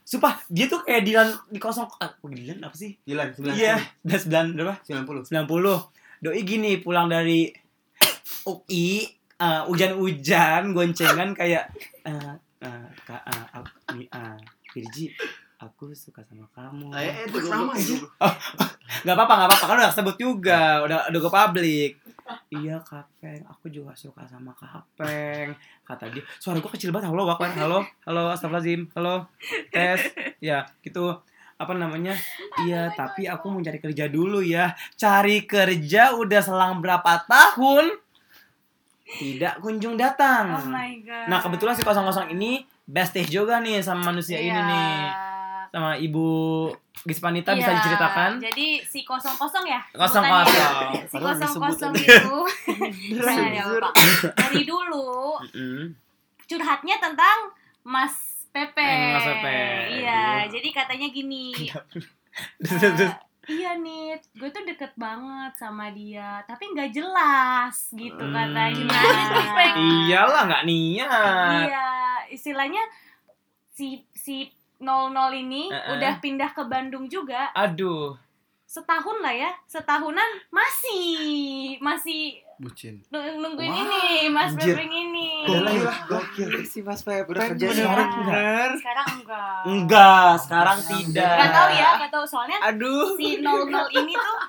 Speaker 3: sumpah dia tuh kayak Dilan di kosong, ah, Dilan apa sih?
Speaker 2: Gila,
Speaker 3: Iya, udah sembilan berapa?
Speaker 2: 90.
Speaker 3: 90 Doi gini pulang dari UI eh, Hujan-hujan Goncengan kayak eh, eh, Kak eh, aku- ini, eh, Virji Aku suka sama kamu
Speaker 6: Eh, eh, tuh
Speaker 2: Sama aja.
Speaker 3: Gak apa-apa gak apa-apa Kan udah sebut juga Udah udah ke publik Iya Kapeng Aku juga suka sama Kapeng Kata dia Suara gua kecil banget Halo Wakwan Halo Halo Astagfirullahaladzim Halo Tes Ya gitu apa namanya? Iya, tapi aku mau cari kerja dulu ya cari kerja udah selang berapa tahun tidak kunjung datang.
Speaker 5: Oh my god.
Speaker 3: nah kebetulan si 00 ini bestie juga nih sama manusia ini
Speaker 5: Iya.
Speaker 3: nih sama ibu Gispanita bisa
Speaker 5: Iya,
Speaker 3: diceritakan.
Speaker 5: Jadi si kosong kosong ya?
Speaker 3: Kosong kosong.
Speaker 5: Sebutannya. Si
Speaker 6: Padahal
Speaker 5: kosong
Speaker 6: disebut
Speaker 5: kosong
Speaker 6: tadi.
Speaker 5: itu. Nah, ya, Pak. Dari dulu
Speaker 3: Mm-mm.
Speaker 5: curhatnya tentang Mas Pepe.
Speaker 3: Eh, Mas Pepe.
Speaker 5: Iya,
Speaker 3: Aduh.
Speaker 5: jadi katanya gini.
Speaker 3: Terus,
Speaker 5: eh,
Speaker 3: terus, terus.
Speaker 5: iya nih, gue tuh deket banget sama dia, tapi nggak jelas gitu
Speaker 3: Hmm.
Speaker 5: katanya.
Speaker 3: Iyalah nggak niat.
Speaker 5: Iya, istilahnya si si 00 ini
Speaker 3: Eh, eh.
Speaker 5: udah pindah ke Bandung juga
Speaker 3: Aduh.
Speaker 5: setahun lah ya, setahunan masih masih
Speaker 6: Bucin.
Speaker 5: nung- nungguin
Speaker 2: Wah,
Speaker 5: ini, Mas
Speaker 2: anjir.
Speaker 5: Pepe ini.
Speaker 6: Gokil,
Speaker 2: Gokil, gokil sih Mas Pep. Udah
Speaker 3: Pep,
Speaker 2: kerja
Speaker 5: bener.
Speaker 2: sekarang
Speaker 5: Sekarang enggak.
Speaker 3: Enggak, sekarang tidak.
Speaker 5: Gak tau ya, gak tau soalnya
Speaker 3: Aduh.
Speaker 5: si 00 ini tuh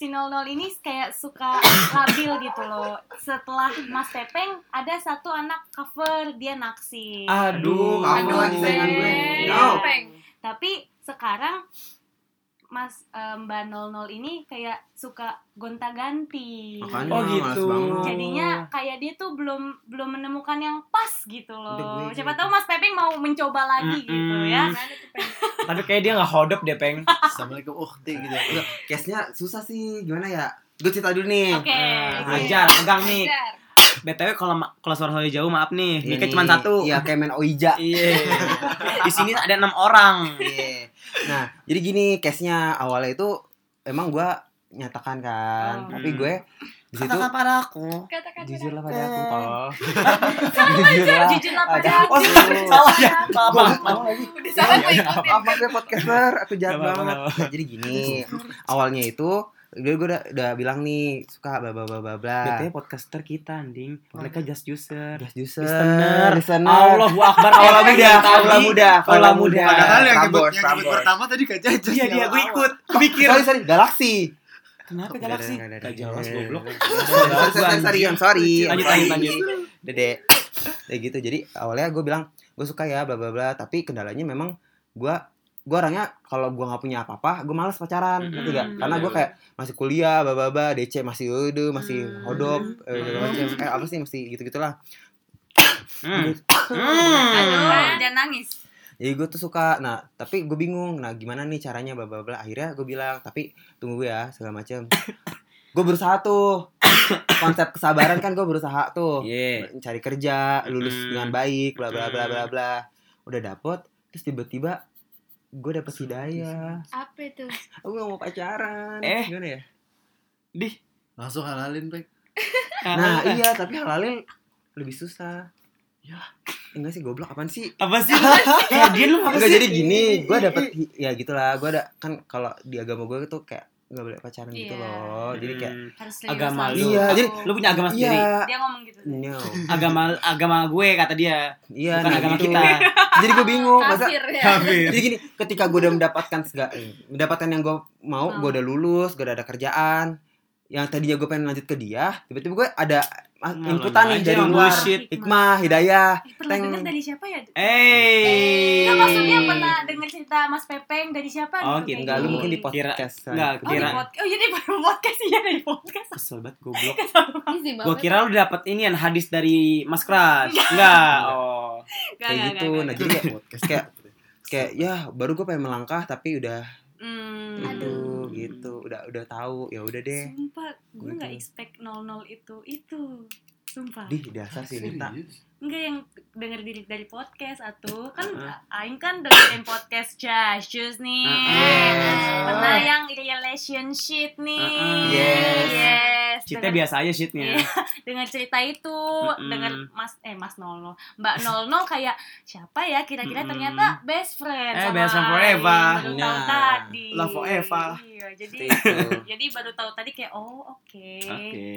Speaker 5: si 00 ini kayak suka labil gitu loh. Setelah Mas Pepeng ada satu anak cover dia naksir.
Speaker 3: Aduh.
Speaker 6: Aduh, lagi saingan gue.
Speaker 5: Iya.
Speaker 6: No.
Speaker 4: Peng.
Speaker 5: Tapi sekarang Mas eh, Mbak 00 ini kayak suka gonta-ganti.
Speaker 2: Makanya.
Speaker 3: Oh
Speaker 2: Males
Speaker 3: gitu.
Speaker 2: banget.
Speaker 5: Jadinya kayak dia tuh belum belum menemukan yang pas gitu
Speaker 2: Udah
Speaker 5: loh.
Speaker 2: gue
Speaker 5: Siapa tahu Mas Pepeng mau mencoba lagi gitu
Speaker 3: Mm-mm.
Speaker 5: ya.
Speaker 4: Gimana tuh, Peng?
Speaker 3: Tapi kayak dia nggak hodop deh, Peng.
Speaker 6: Assalamualaikum. Oh, deh, gitu.
Speaker 3: Iya.
Speaker 6: Udah,
Speaker 2: Case-nya susah sih. Gimana ya? Gue cerita dulu nih.
Speaker 5: Oke. oke.
Speaker 3: Hajar, pegang nih.
Speaker 5: Iya.
Speaker 4: Ajar.
Speaker 3: BTW kalau ma- kalau suara saya jauh maaf nih,
Speaker 2: Iya
Speaker 3: mic
Speaker 2: nih.
Speaker 3: cuma satu.
Speaker 2: Iya, kayak main Oija.
Speaker 3: Iya. Di sini ada enam orang.
Speaker 2: Iya. nah, jadi gini case-nya awalnya itu emang gue nyatakan kan,
Speaker 5: Oh.
Speaker 2: tapi gue di situ
Speaker 3: Katakan pada aku.
Speaker 4: Katakan
Speaker 2: jujurlah pada aku tol. jujurlah.
Speaker 5: Jujurlah
Speaker 2: Ada.
Speaker 5: pada aku.
Speaker 2: Oh,
Speaker 3: salah ya. Maaf,
Speaker 2: Gua
Speaker 3: maaf, maaf.
Speaker 2: ngomong lagi.
Speaker 4: Udah salah
Speaker 2: Iya,
Speaker 4: gue
Speaker 2: iya,
Speaker 4: ikutin.
Speaker 2: Maaf maaf ya podcaster, aku jahat
Speaker 3: Gak apa-apa,
Speaker 2: banget.
Speaker 3: gak
Speaker 2: Nah, jadi gini, awalnya itu gue gue udah, udah bilang nih suka bla bla bla bla bla.
Speaker 3: BTW podcaster kita anding, mereka just user.
Speaker 2: Gas user,
Speaker 3: Listener.
Speaker 2: listener.
Speaker 3: Allahu Akbar, Allah
Speaker 2: Kaula
Speaker 3: muda,
Speaker 2: kaula muda, kaula muda.
Speaker 6: Padahal yang nyebut
Speaker 2: Prambors,
Speaker 6: yang nyebut
Speaker 2: Prambors.
Speaker 6: pertama tadi gak jajan.
Speaker 3: Iya dia, gue ikut.
Speaker 1: Oh,
Speaker 3: Gue mikir.
Speaker 2: Sorry, sorry, Galaxy.
Speaker 3: Kenapa
Speaker 2: Udah,
Speaker 3: galaksi?
Speaker 2: udah, udah, udah.
Speaker 3: Gak jelas
Speaker 1: Iya,
Speaker 3: goblok.
Speaker 2: Iya, Sorry, sorry, sorry, I'm sorry. I'm
Speaker 3: Lanjut,
Speaker 2: sorry.
Speaker 3: lanjut,
Speaker 1: Iya,
Speaker 3: lanjut.
Speaker 2: Dede. Kayak gitu. Jadi awalnya gue bilang gue suka ya bla bla bla, tapi kendalanya memang gue gue orangnya kalau gue nggak punya apa-apa gue males pacaran
Speaker 3: Mm-mm.
Speaker 2: ngerti gak? karena
Speaker 3: Iya,
Speaker 2: gue kayak masih kuliah bla bla bla DC masih udah masih hodop eh, segala macam eh apa sih masih gitu gitulah
Speaker 3: Hmm.
Speaker 1: Hmm.
Speaker 5: Aduh, jangan nangis.
Speaker 2: jadi gue tuh suka nah tapi gue bingung nah gimana nih caranya bla bla bla akhirnya gue bilang tapi tunggu gue ya segala macam gue berusaha tuh konsep kesabaran kan gue berusaha tuh
Speaker 3: Iya.
Speaker 2: cari kerja lulus
Speaker 3: Mm.
Speaker 2: dengan baik bla bla bla bla
Speaker 3: Mm.
Speaker 2: bla udah dapet terus tiba-tiba gue dapet hidayah
Speaker 4: Apa itu?
Speaker 2: aku gak mau pacaran
Speaker 3: Eh.
Speaker 2: gimana ya
Speaker 3: Dih.
Speaker 6: Langsung halalin, Pek.
Speaker 2: nah iya tapi halalnya lebih susah ya enggak sih goblok apaan sih
Speaker 3: Apa sih? Kayak dia lu apa
Speaker 2: Enggak
Speaker 3: sih?
Speaker 2: jadi gini, gue dapet hi- ya gitulah, gue ada kan kalau di agama gue itu kayak
Speaker 1: nggak boleh pacaran gitu
Speaker 5: Iya.
Speaker 1: loh jadi kayak
Speaker 3: Hmm.
Speaker 5: harus
Speaker 3: agama
Speaker 5: sama
Speaker 3: lu.
Speaker 1: Iya,
Speaker 5: aku.
Speaker 1: jadi
Speaker 3: lu punya agama sendiri.
Speaker 1: iya
Speaker 5: dia ngomong gitu
Speaker 1: no
Speaker 3: Agama agama gue kata dia,
Speaker 1: iya
Speaker 3: bukan
Speaker 1: nah
Speaker 3: agama
Speaker 1: gitu.
Speaker 3: kita. Iya.
Speaker 1: jadi gue
Speaker 2: Oh,
Speaker 1: bingung masa
Speaker 5: Kafir ya
Speaker 3: Kafir.
Speaker 1: jadi gini ketika gue udah mendapatkan segala mendapatkan yang gue mau gue
Speaker 5: Hmm.
Speaker 1: udah lulus gue udah ada kerjaan yang tadinya gue pengen lanjut ke dia tiba-tiba gue ada ah,
Speaker 3: Ngalon
Speaker 1: inputan nih
Speaker 3: Nah, aja
Speaker 1: dari
Speaker 3: yang
Speaker 1: luar
Speaker 3: bullshit.
Speaker 1: hikmah hidayah
Speaker 5: Eh, pernah
Speaker 1: Teng.
Speaker 5: denger dari siapa ya
Speaker 3: Eh.
Speaker 5: Nggak, maksudnya pernah denger cerita Mas Pepeng dari siapa
Speaker 3: Oh,
Speaker 5: gitu, kayak
Speaker 3: gitu.
Speaker 1: enggak lu mungkin di
Speaker 5: gitu.
Speaker 3: Kira-
Speaker 1: podcast
Speaker 3: enggak,
Speaker 5: Oh, di
Speaker 3: kira-
Speaker 5: podcast. Oh, jadi baru podcast iya dari podcast.
Speaker 3: Kesel banget goblok.
Speaker 4: Easy banget.
Speaker 3: Gua kira lu dapet ini yang hadis dari Mas Kras. Enggak. Oh.
Speaker 5: Enggak,
Speaker 1: kayak
Speaker 5: enggak,
Speaker 1: gitu
Speaker 5: enggak,
Speaker 1: nah
Speaker 5: enggak.
Speaker 1: jadi kayak
Speaker 6: podcast
Speaker 1: kayak kayak ya baru gue pengen melangkah tapi udah
Speaker 5: Hmm.
Speaker 1: aduh gitu udah udah tahu ya udah deh
Speaker 5: Sumpah, gue
Speaker 1: Gitu.
Speaker 5: nggak expect 00 itu itu. Sumpah.
Speaker 1: di dasar sih Nita
Speaker 6: Serius? Iya.
Speaker 5: Enggak yang denger diri dari podcast atau kan
Speaker 3: Heeh.
Speaker 5: aing kan dengerin podcast Just Just nih.
Speaker 3: Heeh.
Speaker 5: Pernah yang relationship nih.
Speaker 3: Heeh.
Speaker 1: Yes.
Speaker 5: Yes.
Speaker 3: Cita
Speaker 5: Denger-
Speaker 3: biasa aja shitnya.
Speaker 5: Iya, dengan cerita itu,
Speaker 3: Mm-mm.
Speaker 5: dengan Mas eh Mas Nolo, Mbak Nolno kayak siapa ya kira-kira
Speaker 3: Mm-mm.
Speaker 5: ternyata best friend
Speaker 3: Eh,
Speaker 5: sama
Speaker 3: best friend
Speaker 5: Ain,
Speaker 3: forever.
Speaker 5: baru
Speaker 1: Nah,
Speaker 5: tahu tadi.
Speaker 3: love forever.
Speaker 5: Iya, jadi
Speaker 1: Seperti itu.
Speaker 5: jadi baru tahu tadi kayak oh oke.
Speaker 3: Oke.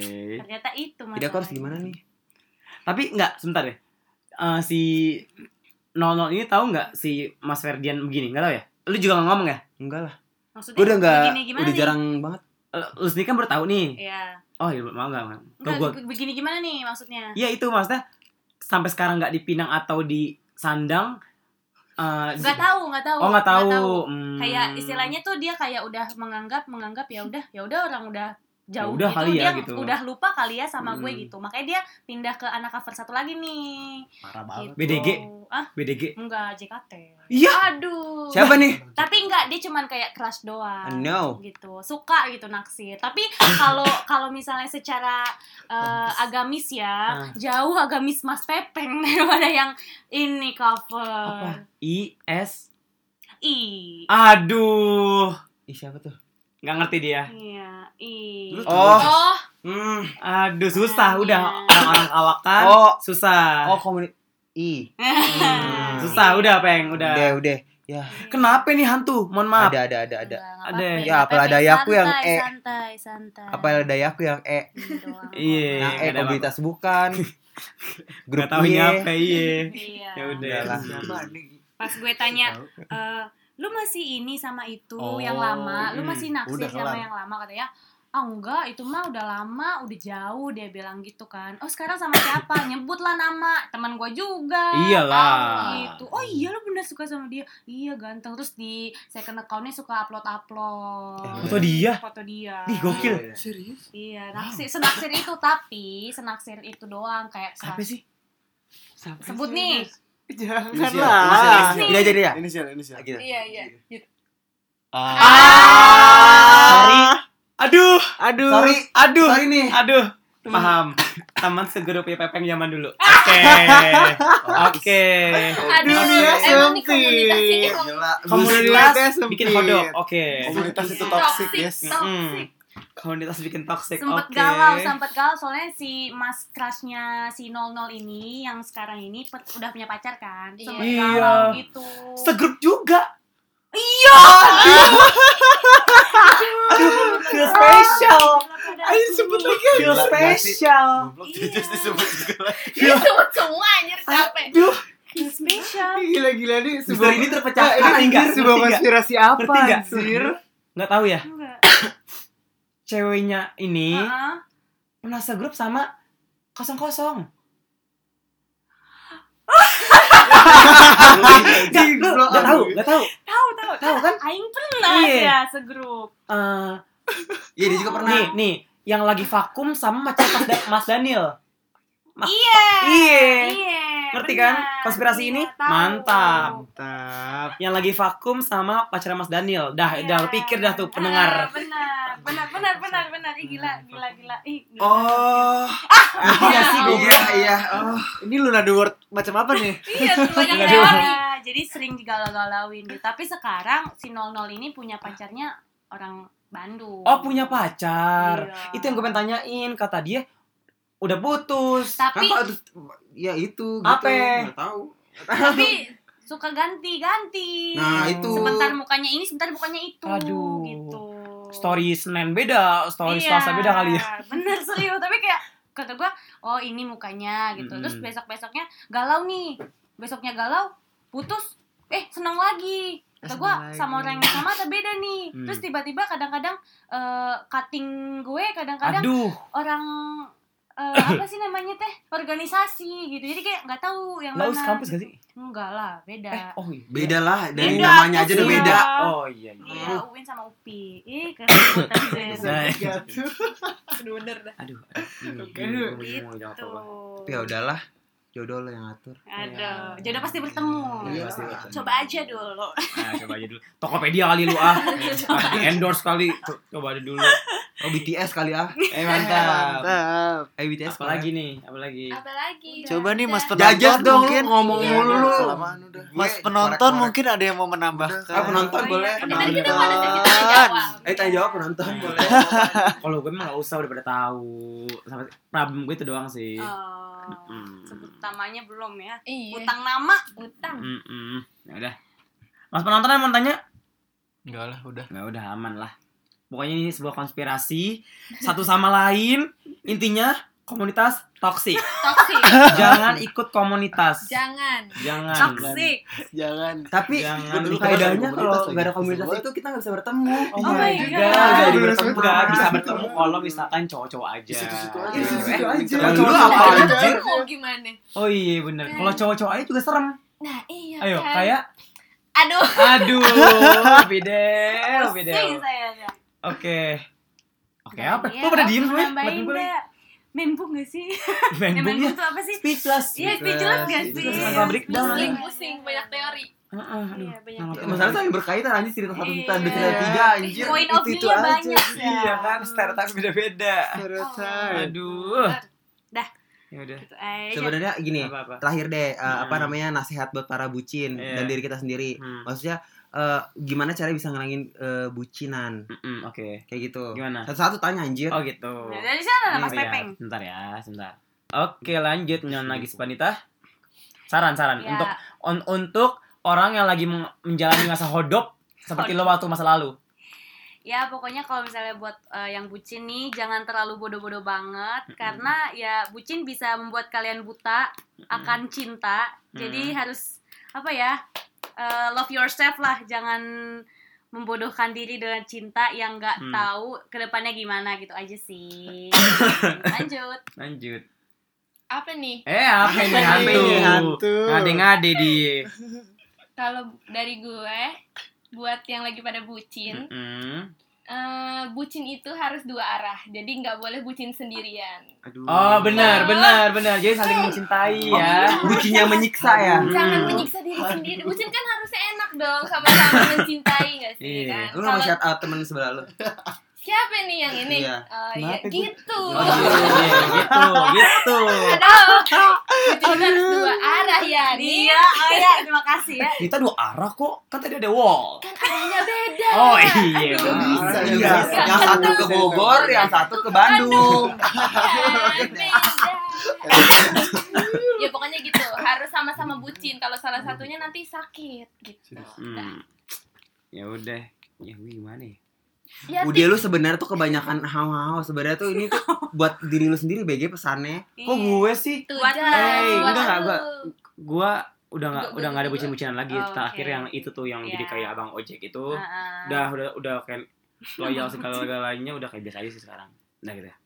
Speaker 5: Ternyata itu Mas.
Speaker 1: tidak harus gimana nih
Speaker 3: Tapi enggak, sebentar deh. Eh, si Nono ini tahu nggak si Mas Ferdian begini? Enggak tahu ya? Lu juga nggak ngomong ya?
Speaker 1: enggak lah
Speaker 5: Maksudnya
Speaker 1: gue udah enggak
Speaker 5: begini gimana
Speaker 1: udah
Speaker 5: nih?
Speaker 1: jarang banget
Speaker 3: Eh, Lu sendiri kan baru tahu nih.
Speaker 5: Iya.
Speaker 3: Oh, iya, mau enggak, Bang?
Speaker 5: Enggak,
Speaker 3: Gua
Speaker 5: begini gimana nih maksudnya?
Speaker 3: Iya itu maksudnya sampai sekarang nggak dipinang atau di Sandang. eh,
Speaker 5: Enggak tahu, enggak tahu.
Speaker 3: Oh nggak tahu. Hmm.
Speaker 5: Kayak istilahnya tuh dia kayak udah menganggap menganggap ya udah ya udah orang udah jauh
Speaker 3: udah
Speaker 5: gitu
Speaker 3: kali ya,
Speaker 5: dia
Speaker 3: gitu.
Speaker 5: udah lupa kali ya sama gue
Speaker 3: Hmm.
Speaker 5: gitu. Makanya dia pindah ke anak cover satu lagi nih.
Speaker 6: Parah banget.
Speaker 5: Gitu.
Speaker 3: BDG?
Speaker 5: Ah,
Speaker 3: BDG.
Speaker 5: enggak JKT.
Speaker 3: Iya.
Speaker 4: Aduh.
Speaker 1: siapa
Speaker 3: Eh,
Speaker 1: nih
Speaker 5: Tapi enggak dia cuman kayak crush doang.
Speaker 1: no
Speaker 5: gitu suka gitu naksir tapi kalau kalau misalnya secara eh, agamis
Speaker 3: Ah.
Speaker 5: ya jauh agamis mas pepeng daripada yang ini cover
Speaker 3: Apa? I S.
Speaker 5: i
Speaker 3: Aduh.
Speaker 1: Ih, siapa tuh
Speaker 3: Nggak ngerti dia.
Speaker 5: iya i
Speaker 6: Lu
Speaker 1: Oh.
Speaker 5: oh
Speaker 1: hmm.
Speaker 3: Aduh susah udah orang-orang awakan.
Speaker 1: oh
Speaker 3: Susah.
Speaker 1: oh komuni i
Speaker 5: Hmm.
Speaker 3: Susah udah peng udah.
Speaker 1: udah udah ya
Speaker 3: Kenapa nih hantu? Mohon maaf.
Speaker 1: ada ada ada ada
Speaker 5: Enggak,
Speaker 3: Ada. eh,
Speaker 5: apa-apa,
Speaker 1: Ya,
Speaker 5: nggak
Speaker 1: apalah
Speaker 5: apa-apa.
Speaker 1: dayaku yang
Speaker 5: Santai,
Speaker 1: E.
Speaker 5: santai santai
Speaker 1: apa dayaku yang e
Speaker 5: Ini doang.
Speaker 3: Iya.
Speaker 1: nah
Speaker 3: nggak
Speaker 1: e
Speaker 3: ada
Speaker 1: komunitas bukan
Speaker 3: Nggak
Speaker 1: grup
Speaker 3: tahu
Speaker 1: Y.
Speaker 3: nyampe iya.
Speaker 5: iya
Speaker 3: Ya udah.
Speaker 1: Udah lah.
Speaker 5: pas gue tanya Eh, lu masih ini sama itu
Speaker 6: Oh,
Speaker 5: yang lama, lu
Speaker 3: hmm.
Speaker 5: masih naksir
Speaker 6: Udah
Speaker 5: sama
Speaker 6: kelar.
Speaker 5: yang lama katanya. Ah enggak, itu mah udah lama, udah jauh dia bilang gitu kan. Oh sekarang sama siapa? Nyebutlah nama teman gue juga.
Speaker 3: Iyalah. Hmm.
Speaker 5: Gitu. Oh iya lu bener suka sama dia. Iya ganteng. Terus di second accountnya suka upload upload.
Speaker 1: Eh,
Speaker 3: foto dia?
Speaker 5: Foto dia.
Speaker 3: Ih, gokil.
Speaker 6: Serius?
Speaker 5: Iya, naksir, senaksir itu tapi senaksir itu doang kayak
Speaker 3: Apa
Speaker 5: serak-
Speaker 3: sih?
Speaker 5: sebut nih.
Speaker 3: Iya, Janganlah.
Speaker 1: tidak jadi ya
Speaker 6: Ini siapa? Ini siapa?
Speaker 1: Gitu.
Speaker 4: Iya, iya.
Speaker 3: Sorry. Ah. Aduh, aduh.
Speaker 1: Sorry.
Speaker 3: Aduh.
Speaker 1: sorry nih
Speaker 3: Aduh, paham. Teman segrupnya Pepeng zaman dulu. Oke.
Speaker 1: Ah,
Speaker 3: Oke.
Speaker 4: Aduh,
Speaker 6: Dunia
Speaker 4: emang nih
Speaker 6: sempit.
Speaker 4: komunikasinya
Speaker 2: Iya,
Speaker 6: Gila. Komunitasnya
Speaker 3: Komunitas bikin
Speaker 6: sempit.
Speaker 3: kodok. Oke. Hmm.
Speaker 6: Komunitas itu
Speaker 4: toxic,
Speaker 6: toxic, guys.
Speaker 4: toxic.
Speaker 3: Komunitas bikin toxic.
Speaker 5: sempet
Speaker 3: Oke.
Speaker 5: galau sempet galau soalnya si mas crushnya si 00 ini yang sekarang ini pet- udah punya pacar kan sempet
Speaker 3: Iya.
Speaker 5: galau gitu
Speaker 3: Segrup juga. Iya. Aduh. Feel special. Ayo sebut lagi. Feel
Speaker 6: Gila,
Speaker 3: special.
Speaker 6: Goblok jujur disebut
Speaker 3: Iya.
Speaker 6: juga.
Speaker 4: Ini sebut Iya. semua anjir capek.
Speaker 3: Aduh.
Speaker 5: Feel special
Speaker 3: Iya.
Speaker 6: Gila-gila nih
Speaker 3: Misteri Eh, ini terpecahkan. Enggak,
Speaker 6: sebuah
Speaker 3: ngerti nggak?
Speaker 6: konspirasi apa
Speaker 3: Ngerti nggak?
Speaker 6: anjir?
Speaker 3: Nggak tahu ya.
Speaker 5: enggak
Speaker 3: Ceweknya ini
Speaker 5: Heeh.
Speaker 3: pernah segrup sama kosong kosong. Gak, lu gak tahu, gak tahu.
Speaker 5: tahu tahu
Speaker 3: Tahu kan?
Speaker 5: aing pernah
Speaker 3: Iya.
Speaker 5: ya segrup
Speaker 3: Eh,
Speaker 1: iya dia juga pernah
Speaker 3: Nih, nih, yang lagi vakum sama pacar Mas, Da- Mas Daniel. Ma-
Speaker 5: iya
Speaker 3: Iya.
Speaker 5: iya
Speaker 3: Ngerti kan?
Speaker 5: benar.
Speaker 3: Konspirasi
Speaker 5: Iya,
Speaker 3: ini
Speaker 5: tahu.
Speaker 3: mantap.
Speaker 6: Mantap.
Speaker 3: Yang lagi vakum sama pacar Mas Daniel. Dah,
Speaker 5: Iya.
Speaker 3: dah lu pikir dah tuh
Speaker 5: Ah,
Speaker 3: pendengar.
Speaker 5: benar benar benar benar benar Ih, gila gila gila Ih, gila.
Speaker 6: Oh,
Speaker 5: Ah.
Speaker 3: Iya sih
Speaker 1: Oh,
Speaker 3: goblok.
Speaker 1: iya iya oh.
Speaker 6: ini Luna the Word macam apa nih?
Speaker 4: Iya, tuh banyak
Speaker 3: Nggak
Speaker 4: teori.
Speaker 5: Iya, jadi sering digalau-galauin gitu. Tapi sekarang si 00 ini punya pacarnya orang Bandung.
Speaker 3: Oh, punya pacar.
Speaker 5: Iya.
Speaker 3: Itu yang gue pengen tanyain, kata dia udah putus.
Speaker 5: Tapi
Speaker 1: Kenapa harus- ya itu gitu
Speaker 3: Apa?
Speaker 1: Nggak tahu
Speaker 5: tapi suka ganti-ganti.
Speaker 1: nah itu
Speaker 5: Sebentar mukanya ini, sebentar mukanya itu
Speaker 3: Aduh.
Speaker 5: gitu.
Speaker 3: story Senin beda, story
Speaker 5: Iya.
Speaker 3: Selasa beda kali ya.
Speaker 5: Bener serius, tapi kayak kata gua, oh ini mukanya gitu. Terus
Speaker 3: Mm-mm.
Speaker 5: besok-besoknya galau nih. Besoknya galau, putus, eh senang lagi. Kata
Speaker 1: Senang
Speaker 5: gua
Speaker 1: lagi.
Speaker 5: sama orang yang sama atau beda nih.
Speaker 3: Hmm.
Speaker 5: Terus tiba-tiba kadang-kadang eh, cutting gue kadang-kadang
Speaker 3: Aduh,
Speaker 5: orang eh, apa sih namanya teh organisasi gitu jadi kayak nggak tahu yang
Speaker 3: Laus
Speaker 5: mana
Speaker 3: kampus gak sih?
Speaker 5: enggak lah beda
Speaker 3: Eh, oh iya.
Speaker 2: Beda lah dari
Speaker 5: Beda,
Speaker 2: namanya aja udah
Speaker 5: pasti
Speaker 2: beda.
Speaker 5: lah.
Speaker 3: Oh iya. iya.
Speaker 5: Iya, Uin sama Upi. Ih, keren banget Zer.
Speaker 3: Nah.
Speaker 1: Gitu.
Speaker 4: bener dah
Speaker 3: Aduh. aduh.
Speaker 1: Oke.
Speaker 3: Ini, ini, ini mau jawab
Speaker 5: Tuh.
Speaker 3: apa?
Speaker 2: Tapi ya udahlah, jodoh lo yang ngatur.
Speaker 5: Aduh, jodoh pasti bertemu.
Speaker 2: Iya,
Speaker 1: pasti
Speaker 2: bertemu.
Speaker 5: Coba aja dulu.
Speaker 3: Nah, coba aja dulu. Tokopedia kali lu ah. Di endorse kali. Coba aja dulu.
Speaker 2: Oh BTS kali ah.
Speaker 3: Eh mantap.
Speaker 1: Mantap.
Speaker 2: Eh BTS
Speaker 3: Apa
Speaker 2: kali
Speaker 3: lagi nih? Apa lagi?
Speaker 4: apa lagi
Speaker 1: Iya, Coba nih Mas
Speaker 4: Udah.
Speaker 1: Penonton
Speaker 2: Jajas dong, lu
Speaker 1: mungkin
Speaker 2: ngomong
Speaker 1: Iya,
Speaker 2: mulu lu.
Speaker 1: kelamaan udah.
Speaker 2: Gue
Speaker 1: Mas penonton
Speaker 2: korek-korek.
Speaker 1: mungkin ada yang mau menambahkan.
Speaker 2: Ah, penonton
Speaker 5: Oh iya,
Speaker 2: boleh.
Speaker 5: kan tadi kita
Speaker 1: penonton.
Speaker 5: nggak ada yang kita jawab.
Speaker 2: Eh tanya jawab penonton
Speaker 3: Nah.
Speaker 2: boleh.
Speaker 3: Kalau gue emang gak usah udah pada tahu. Sama problem gue itu doang sih.
Speaker 5: Oh,
Speaker 3: Mm.
Speaker 5: Eh, sebut namanya belum ya.
Speaker 4: iya utang
Speaker 5: Utang nama.
Speaker 4: utang
Speaker 5: Hmm.
Speaker 3: Mm-mm. Ya udah. Mas penonton ada yang mau tanya?
Speaker 1: Enggak lah, udah.
Speaker 3: Nah udah aman lah. Pokoknya ini sebuah konspirasi satu sama lain. Intinya komunitas toksik.
Speaker 4: toksik
Speaker 3: Jangan ikut komunitas.
Speaker 4: jangan
Speaker 3: Jangan.
Speaker 5: Toxic.
Speaker 3: iya.
Speaker 1: Jangan.
Speaker 2: Tapi
Speaker 3: Jangan
Speaker 2: lu
Speaker 1: ikut
Speaker 2: kaidahnya
Speaker 1: komunitas
Speaker 2: kalau
Speaker 1: lagi.
Speaker 2: nggak ada komunitas
Speaker 1: Sebut.
Speaker 2: itu kita nggak bisa bertemu. Iya. Eh,
Speaker 5: Oh my
Speaker 4: ya?
Speaker 3: juga,
Speaker 5: God.
Speaker 3: nggak jadi
Speaker 1: Bener
Speaker 5: Iya.
Speaker 3: bertemu
Speaker 1: banget.
Speaker 3: nggak bisa bertemu kalau misalkan cowok-cowok aja.
Speaker 1: Situ-situ aja.
Speaker 2: Iya, situ-situ aja.
Speaker 1: Jangan
Speaker 2: Lu
Speaker 1: dulu
Speaker 2: apa
Speaker 1: apa
Speaker 2: aja?
Speaker 1: aja?
Speaker 4: mau gimana
Speaker 3: Oh iya bener. Kalau cowok-cowok aja juga serem.
Speaker 4: nah iya
Speaker 3: Ayo
Speaker 4: kan.
Speaker 3: kayak
Speaker 4: aduh
Speaker 3: aduh bidel bidel.
Speaker 5: Pusing saya.
Speaker 3: Oke. Oke apa?
Speaker 5: Iya,
Speaker 3: Kok pada
Speaker 5: mau
Speaker 3: diem semua?
Speaker 5: Nambahin deh. Membung gak sih? Eh,
Speaker 3: Membung ya.
Speaker 5: Membung tuh apa sih?
Speaker 3: Speechless.
Speaker 5: Iya, speechless gak sih?
Speaker 3: Speechless sama breakdown.
Speaker 4: pusing pusing banyak teori
Speaker 3: Heeh, aduh.
Speaker 5: Iya, banyak.
Speaker 3: Nah,
Speaker 2: Masalah tuh yang berkaitan aja cerita satu cerita dua cerita
Speaker 1: Iya.
Speaker 2: tiga anjir.
Speaker 5: Point of
Speaker 2: Itu-itu
Speaker 5: view-nya
Speaker 2: aja.
Speaker 5: banyak.
Speaker 3: Iya kan, stereotip beda-beda.
Speaker 4: Oh,
Speaker 1: Stereotype.
Speaker 3: Aduh.
Speaker 5: Dah.
Speaker 3: Ya udah.
Speaker 5: Gitu aja.
Speaker 2: Sebenarnya gini,
Speaker 3: Apa-apa.
Speaker 2: terakhir deh eh, apa
Speaker 3: Hmm.
Speaker 2: namanya nasihat buat para bucin
Speaker 3: Iya.
Speaker 2: dan diri kita sendiri.
Speaker 3: Hmm.
Speaker 2: Maksudnya eh, gimana cara bisa ngelangin eh, bucinan
Speaker 3: Mm-mm, Oke.
Speaker 2: kayak gitu.
Speaker 3: Gimana?
Speaker 2: Satu-satu tanya anjir.
Speaker 3: Oh gitu.
Speaker 5: Nah, dari sana lah Mas
Speaker 3: Iya,
Speaker 5: Pepeng.
Speaker 3: Sebentar ya, sebentar. Oke, lanjut Nyonya Nagis Panita. Saran-saran Nah,
Speaker 5: Ya,
Speaker 3: untuk un- untuk orang yang lagi meng- menjalani masa hodop seperti lo waktu masa lalu.
Speaker 5: ya pokoknya kalau misalnya buat eh, yang bucin nih jangan terlalu bodoh-bodoh banget karena ya bucin bisa membuat kalian buta akan cinta. Jadi harus apa ya? eh, love yourself lah, jangan membodohkan diri dengan cinta yang nggak
Speaker 3: Hmm.
Speaker 5: tahu kedepannya gimana gitu aja sih. Lanjut.
Speaker 3: Lanjut.
Speaker 4: apa nih
Speaker 3: Eh, apa ini hantu? Ngade-ngade di.
Speaker 4: kalau dari gue buat yang lagi pada
Speaker 3: Hmm.
Speaker 4: bucin
Speaker 3: Mm-mm.
Speaker 4: eh, bucin itu harus dua arah jadi nggak boleh bucin sendirian
Speaker 2: Aduh.
Speaker 3: Oh, benar, benar, benar. Jadi saling mencintai ya.
Speaker 2: Bucinnya menyiksa ya.
Speaker 3: Hmm.
Speaker 4: jangan menyiksa diri sendiri bucin kan harusnya enak dong sama-sama mencintai nggak sih
Speaker 3: Iya.
Speaker 4: kan
Speaker 2: Lu nggak mau
Speaker 4: Kalau-
Speaker 2: shout out temen sebelah lu?
Speaker 4: siapa nih yang ini
Speaker 2: Iya.
Speaker 4: Oh, iya.
Speaker 3: Kenapa gue-
Speaker 4: gitu
Speaker 3: Oh, iya, gitu, gitu.
Speaker 4: aduh bucin itu harus dua arah ya nih
Speaker 5: Iya, oh ya, terima kasih ya.
Speaker 3: Kita dua arah kok. Kan tadi ada wall.
Speaker 4: kan arahnya beda
Speaker 3: Oh iya.
Speaker 4: Aduh,
Speaker 3: benar.
Speaker 1: bisa,
Speaker 2: Iya.
Speaker 1: bisa.
Speaker 2: Yang satu ke Bogor, yang satu ke Bandung.
Speaker 4: kan beda ya pokoknya gitu harus sama-sama bucin kalau salah satunya nanti sakit gitu
Speaker 3: Hmm. Ya udah. Ya gue gimana ya?
Speaker 4: ya
Speaker 2: Udah lu sebenarnya tuh kebanyakan hao-hao. Sebenarnya tuh ini tuh buat diri lu sendiri BG pesannya.
Speaker 3: Kok gue sih?
Speaker 4: gitu
Speaker 5: Buat-
Speaker 4: Jas.
Speaker 5: Eh,
Speaker 4: Buat
Speaker 3: enggak, enggak,
Speaker 4: lu.
Speaker 3: gua- Gue udah nggak
Speaker 4: Gua- Oh, Iya. gua
Speaker 3: udah nggak ada
Speaker 4: juga.
Speaker 3: bucin-bucinan lagi.
Speaker 5: Oke.
Speaker 3: Terakhir yang itu tuh yang jadi
Speaker 5: Ya.
Speaker 3: kayak abang ojek itu.
Speaker 4: Ah.
Speaker 5: Heeh.
Speaker 3: Udah udah udah kayak loyal segala-galanya udah kayak biasa aja sih sekarang. Udah gitu ya.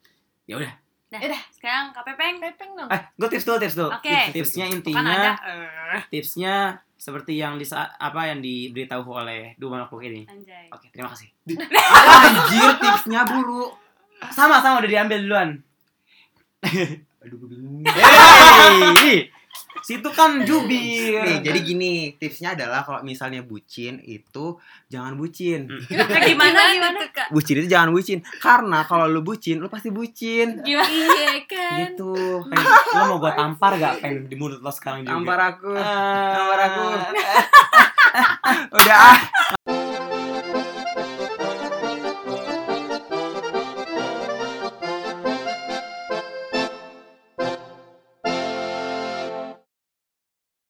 Speaker 3: Ya udah.
Speaker 5: Nah, Sekarang Kak Pepeng.
Speaker 4: Pepeng dong
Speaker 3: Eh, gue tips dulu, tips dulu.
Speaker 5: Oke.
Speaker 3: Tips- tipsnya
Speaker 5: Kan
Speaker 3: intinya
Speaker 5: ada.
Speaker 3: tipsnya seperti yang di apa yang diberitahu oleh dua makhluk ini.
Speaker 5: Anjay.
Speaker 3: Oke, terima kasih.
Speaker 2: Anjir tipsnya bulu.
Speaker 3: Sama sama udah diambil duluan.
Speaker 2: Aduh gue bingung.
Speaker 3: Hey, situ kan jubir.
Speaker 2: Nih, jadi gini, tipsnya adalah kalau misalnya bucin itu jangan bucin.
Speaker 5: Nah, gimana gimana? Kak?
Speaker 2: Bucin itu jangan bucin karena kalau lu bucin lu pasti bucin.
Speaker 5: Gimana?
Speaker 4: iya kan
Speaker 2: Gitu.
Speaker 3: Peng, lo mau gua tampar gak pengen di Iya, Eh. mulut lo sekarang juga?
Speaker 2: Tampar aku.
Speaker 3: Ah.
Speaker 2: Tampar aku. Udah ah.